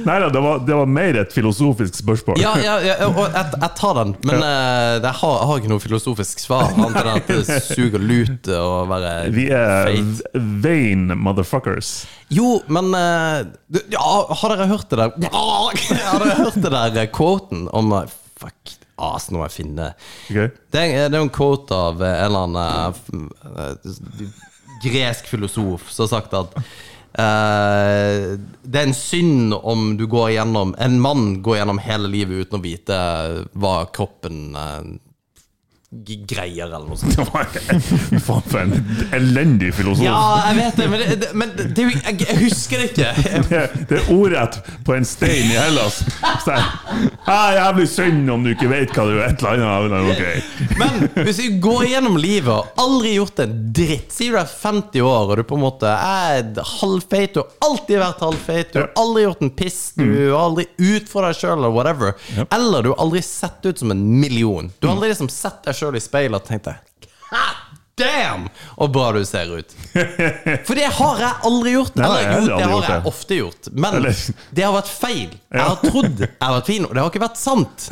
[SPEAKER 7] Nei da, det var, det var mer et filosofisk spørsmål.
[SPEAKER 6] Ja, ja, ja og jeg, jeg tar den, men eh, jeg, har, jeg har ikke noe filosofisk svar. Annet enn at det suger lut å være
[SPEAKER 7] Vi er
[SPEAKER 6] feit.
[SPEAKER 7] vain motherfuckers.
[SPEAKER 6] Jo, men eh, du- ja, Har dere hørt det der Ja, Har dere hørt det der eh, quoten om eh, Fuck, ass, nå må jeg finne
[SPEAKER 7] Ok?
[SPEAKER 6] Det er det er jo en quote av eh, en eller annen eh, f- eh, gresk filosof som har sagt at eh, det er en synd om du går gjennom En mann går gjennom hele livet uten å vite eh, hva kroppen eh, g- greier, eller noe sånt.
[SPEAKER 7] Det var Faen for en elendig filosof.
[SPEAKER 6] Ja, jeg vet det, men, det, det, men det, det, er jo- jeg, jeg husker det ikke.
[SPEAKER 7] Det, det er ordrett på en stein i Hellas. Så jeg, ah, jævlig synd om du ikke vet hva du er, et eller annet. Men ok.
[SPEAKER 6] Men hvis du går gjennom livet og aldri gjort en dritt Si du er 50 år og du på en måte er halvfeit, du har alltid vært halvfeit, du har aldri gjort en piss, du
[SPEAKER 7] Mm.
[SPEAKER 6] har aldri utfordra deg sjøl eller whatever, eller du har aldri sett ut som en million. Du
[SPEAKER 7] Mm.
[SPEAKER 6] har aldri liksom sett deg sjøl i speilet og tenkt deg God damn, så bra du ser ut. For det har jeg aldri gjort.
[SPEAKER 7] Nei,
[SPEAKER 6] Eller
[SPEAKER 7] jeg har
[SPEAKER 6] jo, det
[SPEAKER 7] aldri
[SPEAKER 6] har
[SPEAKER 7] gjort
[SPEAKER 6] jeg
[SPEAKER 7] det.
[SPEAKER 6] ofte gjort. Men
[SPEAKER 7] Eller-
[SPEAKER 6] det har vært feil. Jeg har trodd jeg har vært fin, og det har ikke vært sant.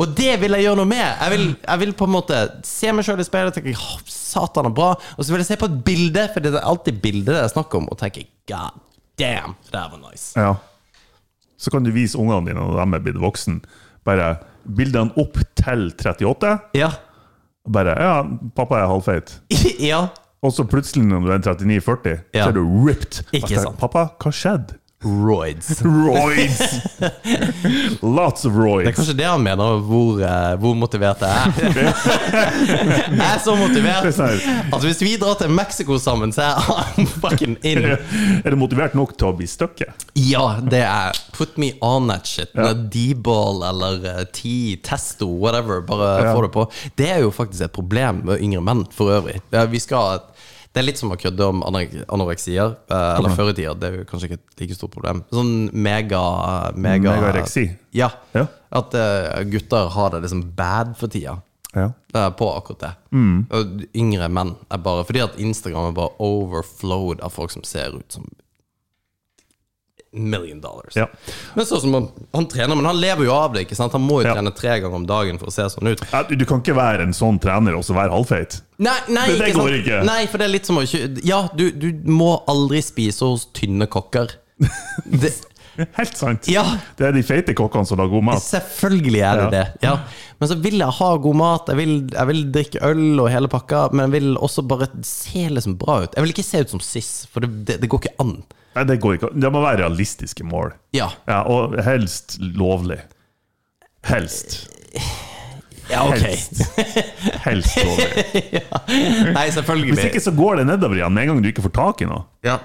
[SPEAKER 6] Og det vil jeg gjøre noe med. Jeg vil, jeg vil på en måte se meg sjøl i speilet og tenke «Åh, satan er bra. Og så vil jeg se på et bilde, for det er alltid bildet det er snakk om, og tenke god damn, det her var nice.
[SPEAKER 7] Ja. Så kan du vise ungene dine når de er blitt voksen bare bildene opp til 38.
[SPEAKER 6] Ja.
[SPEAKER 7] og Bare Ja, pappa er halvfeit.
[SPEAKER 6] ja.
[SPEAKER 7] Og så plutselig, når du er 39-40,
[SPEAKER 6] Ja.
[SPEAKER 7] så er du ripped.
[SPEAKER 6] Ikke
[SPEAKER 7] Og så tenker jeg,
[SPEAKER 6] sant.
[SPEAKER 7] Pappa, hva skjedde?
[SPEAKER 6] Roids.
[SPEAKER 7] Roids! Lots of
[SPEAKER 6] Det er
[SPEAKER 7] roids.
[SPEAKER 6] kanskje det han mener, hvor, eh, hvor motivert jeg er. jeg er så motivert
[SPEAKER 7] Det er sant.
[SPEAKER 6] at hvis vi drar til Mexico sammen, så er han fucking in.
[SPEAKER 7] Er du motivert nok til å bli støkket?
[SPEAKER 6] Ja, det er Put me on that shit. Når D-ball eller eh, T, Testo, whatever, bare
[SPEAKER 7] Ja.
[SPEAKER 6] få det på. Det er jo faktisk et problem med yngre menn for øvrig. Ja, Vi skal ha et- det er litt som å kødde om anore- anoreksier. eh, Eller før i tida, det er jo kanskje ikke et like stort problem. Sånn mega, mega
[SPEAKER 7] Megareksi?
[SPEAKER 6] Ja.
[SPEAKER 7] Ja.
[SPEAKER 6] At eh, gutter har det liksom bad for tida.
[SPEAKER 7] Ja.
[SPEAKER 6] Det er på akkurat det.
[SPEAKER 7] Mm.
[SPEAKER 6] Og yngre menn er bare Fordi at Instagram er bare overflowed av folk som ser ut som million dollars.
[SPEAKER 7] Ja.
[SPEAKER 6] Men sånn som han, han trener, men han lever jo av det, ikke sant? Han må jo
[SPEAKER 7] Ja.
[SPEAKER 6] trene tre ganger om dagen for å se sånn ut.
[SPEAKER 7] Ja, Du du kan ikke være en sånn trener og så være halvfeit.
[SPEAKER 6] Nei, nei,
[SPEAKER 7] Det- det
[SPEAKER 6] sant?
[SPEAKER 7] går ikke.
[SPEAKER 6] Nei, for det er litt som å ikke Ja, du, du må aldri spise hos tynne kokker. Det,
[SPEAKER 7] Helt sant.
[SPEAKER 6] Ja.
[SPEAKER 7] Det er de feite kokkene som lager god mat.
[SPEAKER 6] Selvfølgelig er det det. Ja. Men så vil jeg ha god mat, jeg vil, jeg vil drikke øl og hele pakka, men jeg vil også bare se liksom bra ut. Jeg vil ikke se ut som Siss, for det, det, det går ikke an.
[SPEAKER 7] Nei, det går ikke. Det må være realistiske mål.
[SPEAKER 6] Ja,
[SPEAKER 7] Ja, og helst lovlig. Helst.
[SPEAKER 6] ja ok.
[SPEAKER 7] Helst. Helst lovlig.
[SPEAKER 6] Nei, selvfølgelig.
[SPEAKER 7] Hvis ikke så går det nedover igjen med en gang du ikke får tak i noe.
[SPEAKER 6] Ja,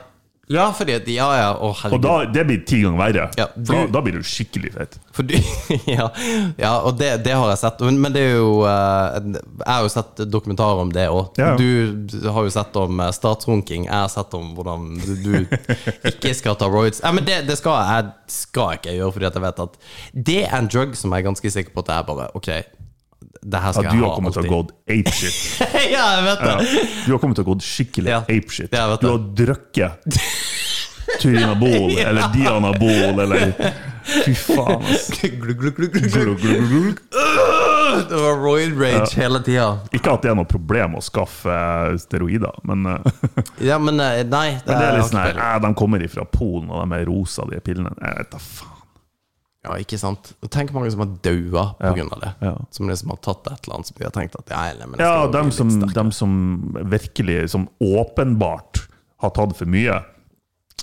[SPEAKER 6] ja fordi at Ja, ja, å
[SPEAKER 7] Og
[SPEAKER 6] herregud.
[SPEAKER 7] da, det blir ti ganger verre.
[SPEAKER 6] Ja,
[SPEAKER 7] da,
[SPEAKER 6] du-
[SPEAKER 7] da blir du skikkelig feit.
[SPEAKER 6] For du, ja, ja, og det, det har jeg sett. Men, men det er jo eh, Jeg har jo sett dokumentar om det òg.
[SPEAKER 7] Ja, ja.
[SPEAKER 6] Du har jo sett om eh, statsrunking. Jeg har sett om hvordan du, du ikke skal ta roids. Nei, men det, det skal jeg skal ikke jeg gjøre, fordi at jeg vet at det er en drug som jeg er ganske sikker på at jeg bare Ok, det her
[SPEAKER 7] At
[SPEAKER 6] skal
[SPEAKER 7] du
[SPEAKER 6] jeg
[SPEAKER 7] har
[SPEAKER 6] ha
[SPEAKER 7] kommet til å
[SPEAKER 6] alltid.
[SPEAKER 7] gå apeshit.
[SPEAKER 6] ja, jeg vet det.
[SPEAKER 7] Ja. Du har kommet til å gå skikkelig
[SPEAKER 6] Ja.
[SPEAKER 7] apeshit.
[SPEAKER 6] Ja, jeg vet
[SPEAKER 7] Du har drukket Turinabol eller Dianabol eller Fy faen, ass.
[SPEAKER 6] Glug, glug, glug, glug, glug.
[SPEAKER 7] Glug, glug, glug.
[SPEAKER 6] Det var roid rage hele tida.
[SPEAKER 7] Ikke at det er noe problem å skaffe eh, steroider, men, eh,
[SPEAKER 6] Ja, men eh, nei.
[SPEAKER 7] men det er
[SPEAKER 6] jeg
[SPEAKER 7] litt sånn
[SPEAKER 6] har ikke
[SPEAKER 7] her
[SPEAKER 6] peiling.
[SPEAKER 7] eh, De kommer ifra Polen, og de er rosa, de pillene. Jeg vet da faen.
[SPEAKER 6] Ja, ikke sant? Og Tenk mange som har daua pga. grunn av det.
[SPEAKER 7] Ja.
[SPEAKER 6] Som liksom har tatt et eller annet som de har tenkt at ja, nei, men jeg
[SPEAKER 7] Ja,
[SPEAKER 6] skal bli
[SPEAKER 7] dem
[SPEAKER 6] litt
[SPEAKER 7] som,
[SPEAKER 6] sterk.
[SPEAKER 7] dem som virkelig, som åpenbart har tatt for mye,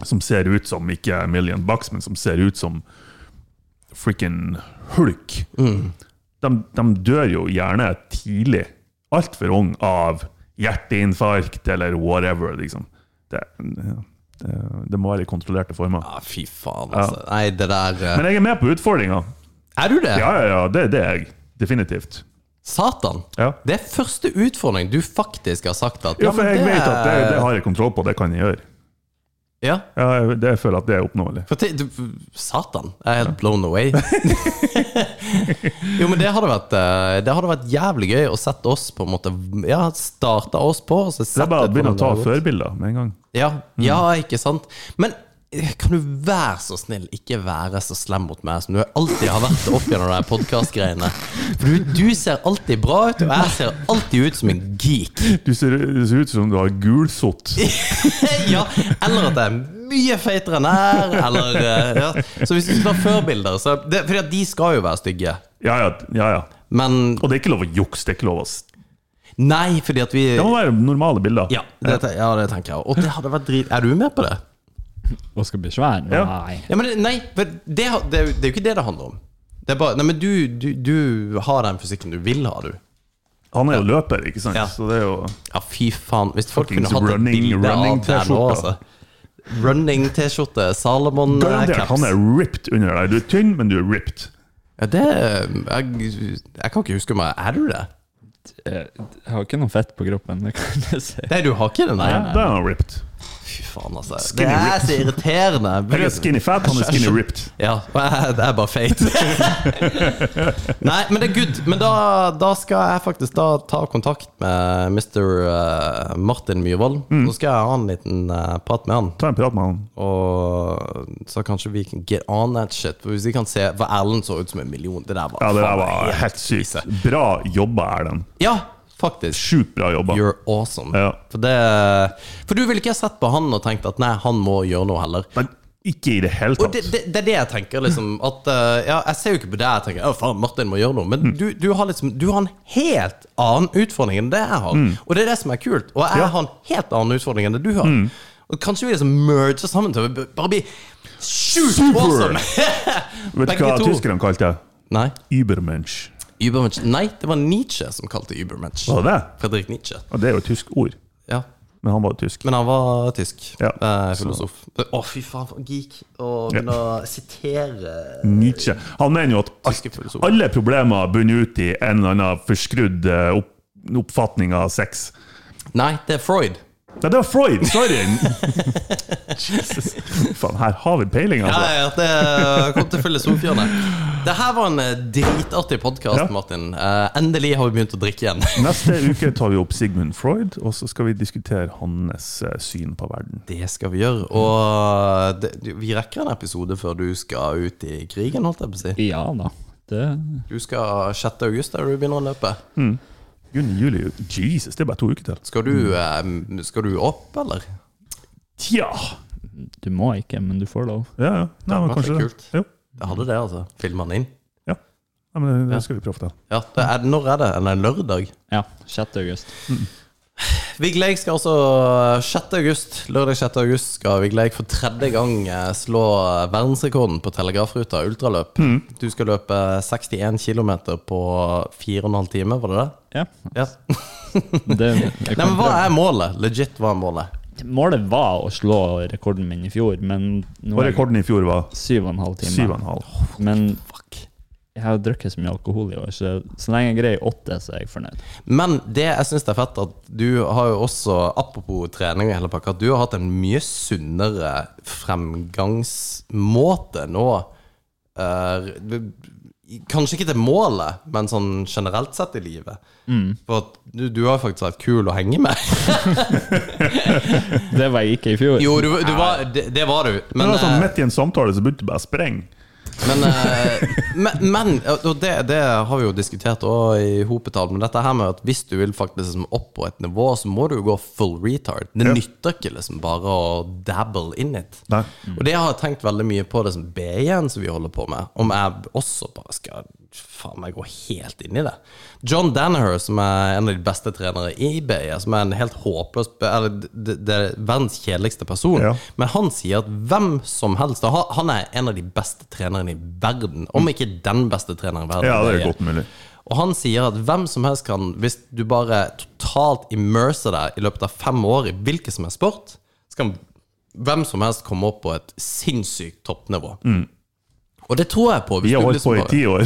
[SPEAKER 7] som ser ut som ikke a million bucks, men som ser ut som frikken hulk,
[SPEAKER 6] Mm.
[SPEAKER 7] dem dem dør jo gjerne tidlig, altfor ung, av hjerteinfarkt eller whatever, liksom. Det, det, det må være i kontrollerte former.
[SPEAKER 6] Ja, fy faen, altså. Nei, det der eh,
[SPEAKER 7] Men jeg er med på utfordringa.
[SPEAKER 6] Er du det?
[SPEAKER 7] Ja, ja, ja, det, det er jeg. Definitivt.
[SPEAKER 6] Satan!
[SPEAKER 7] Ja.
[SPEAKER 6] Det er første utfordring du faktisk har sagt at
[SPEAKER 7] Ja,
[SPEAKER 6] ja,
[SPEAKER 7] for
[SPEAKER 6] men
[SPEAKER 7] jeg
[SPEAKER 6] det-
[SPEAKER 7] vet at det, det har jeg kontroll på, det kan jeg gjøre.
[SPEAKER 6] Ja.
[SPEAKER 7] Ja, jeg, det, jeg føler at det er oppnåelig.
[SPEAKER 6] For til, du, satan! Jeg er helt blown away. jo, men det hadde, vært, eh, det hadde vært jævlig gøy å sette oss på en måte Ja, starte oss på. Og så
[SPEAKER 7] Det er bare å
[SPEAKER 6] sette
[SPEAKER 7] begynne å
[SPEAKER 6] hvordan
[SPEAKER 7] ta
[SPEAKER 6] det har gått.
[SPEAKER 7] førbilder med en gang.
[SPEAKER 6] Ja, ja, ikke sant? Men eh, kan du være så snill, ikke være så slem mot meg som du alltid har vært opp gjennom de podkast-greiene? For du, du ser alltid bra ut, og jeg ser alltid ut som en geek.
[SPEAKER 7] Du ser, du ser ut som du har gulsott.
[SPEAKER 6] ja, eller at jeg er mye feitere enn her, eller eh, ja. Så hvis du skal ha førbilder, så det, Fordi at de skal jo være stygge.
[SPEAKER 7] Ja, ja, ja, ja.
[SPEAKER 6] Men
[SPEAKER 7] Og det er ikke lov å jukse. Det er ikke lov å s-
[SPEAKER 6] nei, fordi at vi
[SPEAKER 7] Det må være normale bilder.
[SPEAKER 6] ja det, te- ja, det tenker jeg. Og det hadde vært drit... Er du med på det?
[SPEAKER 8] Og skal bli svær?
[SPEAKER 7] Ja.
[SPEAKER 8] Nei.
[SPEAKER 6] Ja, men det- nei, for det, har- det, er jo- det er jo ikke det det handler om. Det er bare, nei, men du, du, du har den fysikken du vil ha, du.
[SPEAKER 7] Han er jo løper, ikke sant?
[SPEAKER 6] Ja.
[SPEAKER 7] Så det er jo
[SPEAKER 6] Ja, fy faen. Hvis folk
[SPEAKER 7] Fuckings
[SPEAKER 6] kunne hatt et
[SPEAKER 7] running-
[SPEAKER 6] bilde av det nå, altså.
[SPEAKER 7] running-T-skjorta.
[SPEAKER 6] Running-T-skjorte,
[SPEAKER 7] Garantert. Han
[SPEAKER 6] Salomon-caps.
[SPEAKER 7] er ripped under deg. Du er tynn, men du er ripped.
[SPEAKER 6] Ja, det jeg, jeg kan ikke huske meg. Er du det?
[SPEAKER 8] Jeg jeg Eh, har ikke noe fett på kroppen, det kan jeg si.
[SPEAKER 6] Nei, du har ikke det, nei?
[SPEAKER 7] Ja, da er han ripped.
[SPEAKER 6] Fy faen, altså.
[SPEAKER 7] Skinny
[SPEAKER 6] det er
[SPEAKER 7] ripped.
[SPEAKER 6] så irriterende.
[SPEAKER 7] Jeg er skinny fat, han er skinny ripped.
[SPEAKER 6] Ja, og jeg, jeg er bare feit. Nei, men det er good. Men da, da skal jeg faktisk da ta kontakt med Mr. eh, Martin Myhrvold.
[SPEAKER 7] Mm.
[SPEAKER 6] Så skal jeg ha en liten eh, prat med han.
[SPEAKER 7] Ta en prat med han.
[SPEAKER 6] Og så kanskje vi kan get on that shit. For hvis vi kan se For Erlend så ut som en million. Det der var,
[SPEAKER 7] Ja, det der
[SPEAKER 6] faen
[SPEAKER 7] var
[SPEAKER 6] meg
[SPEAKER 7] helt sykt. Bra jobba, Erlend.
[SPEAKER 6] Ja, faktisk.
[SPEAKER 7] Sjukt bra jobba.
[SPEAKER 6] You're awesome.
[SPEAKER 7] Ja.
[SPEAKER 6] For, det, for du ville ikke ha sett på han og tenkt at nei, han må gjøre noe heller.
[SPEAKER 7] Men ikke i det hele
[SPEAKER 6] Og det,
[SPEAKER 7] tatt.
[SPEAKER 6] det, det er det jeg tenker, liksom. At, eh, ja, jeg ser jo ikke på deg og tenker 'Å, faen, Martin må gjøre noe',
[SPEAKER 7] Mm.
[SPEAKER 6] men du, du, har liksom, du har en helt annen utfordring enn det jeg har. Og det er det som er kult. Og jeg
[SPEAKER 7] Mm. Ja. Mm.
[SPEAKER 6] har en helt annen utfordring enn det du har. Og kanskje vi liksom merger sammen til å b- bare bli sjukt
[SPEAKER 7] Super!
[SPEAKER 6] awesome!
[SPEAKER 7] Vet du
[SPEAKER 6] begge
[SPEAKER 7] hva
[SPEAKER 6] to.
[SPEAKER 7] tyskerne kalte det?
[SPEAKER 6] Nei,
[SPEAKER 7] Übermensch.
[SPEAKER 6] Übermensch. Nei, det var Nietzsche som kalte Übermensch.
[SPEAKER 7] Var det det?
[SPEAKER 6] Fredrik Nietzsche.
[SPEAKER 7] Og det er jo et tysk ord.
[SPEAKER 6] Ja.
[SPEAKER 7] Men han var jo tysk.
[SPEAKER 6] Men han var tysk.
[SPEAKER 7] Ja,
[SPEAKER 6] eh,
[SPEAKER 7] så-
[SPEAKER 6] filosof. Å, fy faen, for en geek. Og begynne å sitere
[SPEAKER 7] Nietzsche. Han mener jo at
[SPEAKER 6] Tyske
[SPEAKER 7] alt,
[SPEAKER 6] filosofer.
[SPEAKER 7] alle problemer bunner ut i en eller annen forskrudd eh, opp, oppfatning av sex.
[SPEAKER 6] Nei, det er Freud.
[SPEAKER 7] Nei, det var Freud! Sorry! Jesus. Faen, her har vi peiling,
[SPEAKER 6] Ja,
[SPEAKER 7] altså.
[SPEAKER 6] ja, det kom til filosofhjørne. Det her var en eh, dritartig podkast,
[SPEAKER 7] Ja.
[SPEAKER 6] Martin. Eh, endelig har vi begynt å drikke igjen.
[SPEAKER 7] Neste uke tar vi opp Sigmund Freud, og så skal vi diskutere hans eh, syn på verden.
[SPEAKER 6] Det skal vi gjøre. Og eh, det, du- vi rekker en episode før du skal ut i krigen, holdt jeg på å si.
[SPEAKER 8] Ja da. Det
[SPEAKER 6] Du skal 6. august, der du begynner å løpe.
[SPEAKER 7] Juni, juli, Jesus, det er bare to uker til.
[SPEAKER 6] Skal du, eh, skal du opp, eller?
[SPEAKER 7] Tja
[SPEAKER 8] Du må ikke, men du får lov.
[SPEAKER 7] Ja, ja. Nei, men
[SPEAKER 6] var så
[SPEAKER 7] kanskje det.
[SPEAKER 6] kult.
[SPEAKER 7] Jo.
[SPEAKER 6] Jeg hadde det, altså. Filma den inn.
[SPEAKER 7] Nei, men det skal vi prøve å få til.
[SPEAKER 6] Ja, det er, Når er det? Er det en lørdag?
[SPEAKER 8] Ja, 6. august.
[SPEAKER 6] Vigleik skal altså 6. august, lørdag 6. august skal Vigleik for tredje gang eh, slå verdensrekorden på telegrafruta ultraløp. Du skal løpe 61 km på 4,5 timer, var det det?
[SPEAKER 8] Ja.
[SPEAKER 6] Ja.
[SPEAKER 8] Det, jeg
[SPEAKER 6] Nei,
[SPEAKER 8] kan
[SPEAKER 6] men hva er målet? Legit, hva er målet?
[SPEAKER 8] prøve. Målet var å slå rekorden min i fjor, men nå
[SPEAKER 7] Og
[SPEAKER 8] er det
[SPEAKER 7] rekorden i fjor var
[SPEAKER 8] syv og en halv time.
[SPEAKER 7] 7,5.
[SPEAKER 8] Men jeg har drukket så mye alkohol i år, så så lenge jeg greier åtte, så er jeg fornøyd.
[SPEAKER 6] Men det jeg syns er fett, at du har jo også, apropos trening og hele pakka, at du har hatt en mye sunnere fremgangsmåte nå. Eh, du- kanskje ikke til målet, men sånn generelt sett i livet. For at du, du har faktisk vært kul å henge med.
[SPEAKER 8] Det var jeg ikke i fjor.
[SPEAKER 6] Jo, du, du var, det, det var du.
[SPEAKER 7] Men
[SPEAKER 6] Men,
[SPEAKER 7] altså,
[SPEAKER 6] eh,
[SPEAKER 7] midt i en samtale så begynte det bare å sprenge.
[SPEAKER 6] Men, eh, men, men og det, det har vi jo diskutert også i hopetall, men dette her med at hvis du vil faktisk liksom opp på et nivå, så må du jo gå full retard. Det nytter ikke liksom bare å dabble in it.
[SPEAKER 7] Nei.
[SPEAKER 6] Og det har jeg tenkt veldig mye på, det som BI-en som vi holder på med, om jeg også bare skal faen meg gå helt inn i det. John Danaher, som er en av de beste trenere i BI, som er en helt håpløs Eller det, det er verdens kjedeligste person.
[SPEAKER 7] Ja.
[SPEAKER 6] Men han sier at hvem som helst da, han- Han er en av de beste trenerne i verden, om ikke den beste treneren i verden.
[SPEAKER 7] Mm. Ja, det
[SPEAKER 6] i
[SPEAKER 7] er
[SPEAKER 6] BI.
[SPEAKER 7] godt mulig.
[SPEAKER 6] Og han sier at hvem som helst kan, hvis du bare totalt immerser deg i løpet av fem år i hvilken som helst sport, så kan hvem som helst komme opp på et sinnssykt toppnivå. Og det tror jeg på. hvis
[SPEAKER 7] Mm. Vi har
[SPEAKER 6] du
[SPEAKER 7] holdt
[SPEAKER 6] liksom
[SPEAKER 7] på i
[SPEAKER 6] bare-
[SPEAKER 7] ti år.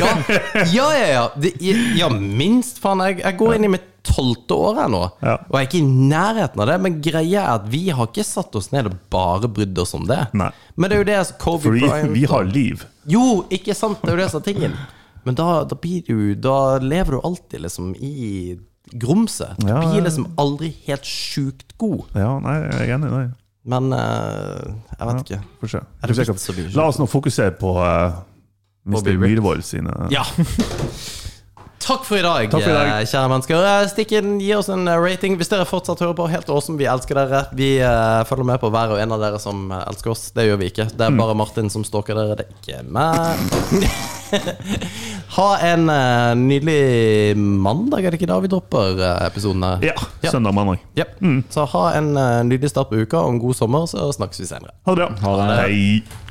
[SPEAKER 6] ja, ja, ja. ja. Det, ja minst, faen. Jeg, jeg går inn i mitt tolvte år her nå,
[SPEAKER 7] Ja.
[SPEAKER 6] og jeg er ikke i nærheten av det. Men greia er at vi har ikke satt oss ned og bare brydd oss om det.
[SPEAKER 7] Nei.
[SPEAKER 6] Men det er jo det som Kobe
[SPEAKER 7] Fordi
[SPEAKER 6] Bryant
[SPEAKER 7] vi
[SPEAKER 6] og-
[SPEAKER 7] har liv.
[SPEAKER 6] jo, ikke sant? Det er jo det som er tingen. Men da, da blir du Da lever du alltid liksom i grumset. Du
[SPEAKER 7] Ja, ja, ja.
[SPEAKER 6] blir liksom aldri helt sjukt god.
[SPEAKER 7] Ja, nei, jeg er enig. Nei.
[SPEAKER 6] Men eh, jeg vet ikke.
[SPEAKER 7] Får se.
[SPEAKER 6] Er det
[SPEAKER 7] Får se
[SPEAKER 6] vits å bli
[SPEAKER 7] hva- La oss nå fokusere på eh, Mr.
[SPEAKER 6] Bobby Riggs.
[SPEAKER 7] Myhrvold sine
[SPEAKER 6] Ja. Takk for i dag,
[SPEAKER 7] for i dag.
[SPEAKER 6] eh, kjære mennesker. Eh, Stikk inn, gi oss en eh, rating hvis dere fortsatt hører på. Helt awesome, vi elsker dere. Vi eh, følger med på hver og en av dere som eh, elsker oss. Det gjør vi ikke.
[SPEAKER 7] Mm.
[SPEAKER 6] Det er bare Martin som stalker dere, det er ikke meg. ha en eh, nydelig mandag, er det ikke da vi dropper eh, episoden her?
[SPEAKER 7] Ja, søndag Mm. mandag.
[SPEAKER 6] Ja. Så ha en eh, nydelig start på uka, og en god sommer, så snakkes vi senere.
[SPEAKER 7] Ha det bra.
[SPEAKER 8] Ha det.
[SPEAKER 7] Hei.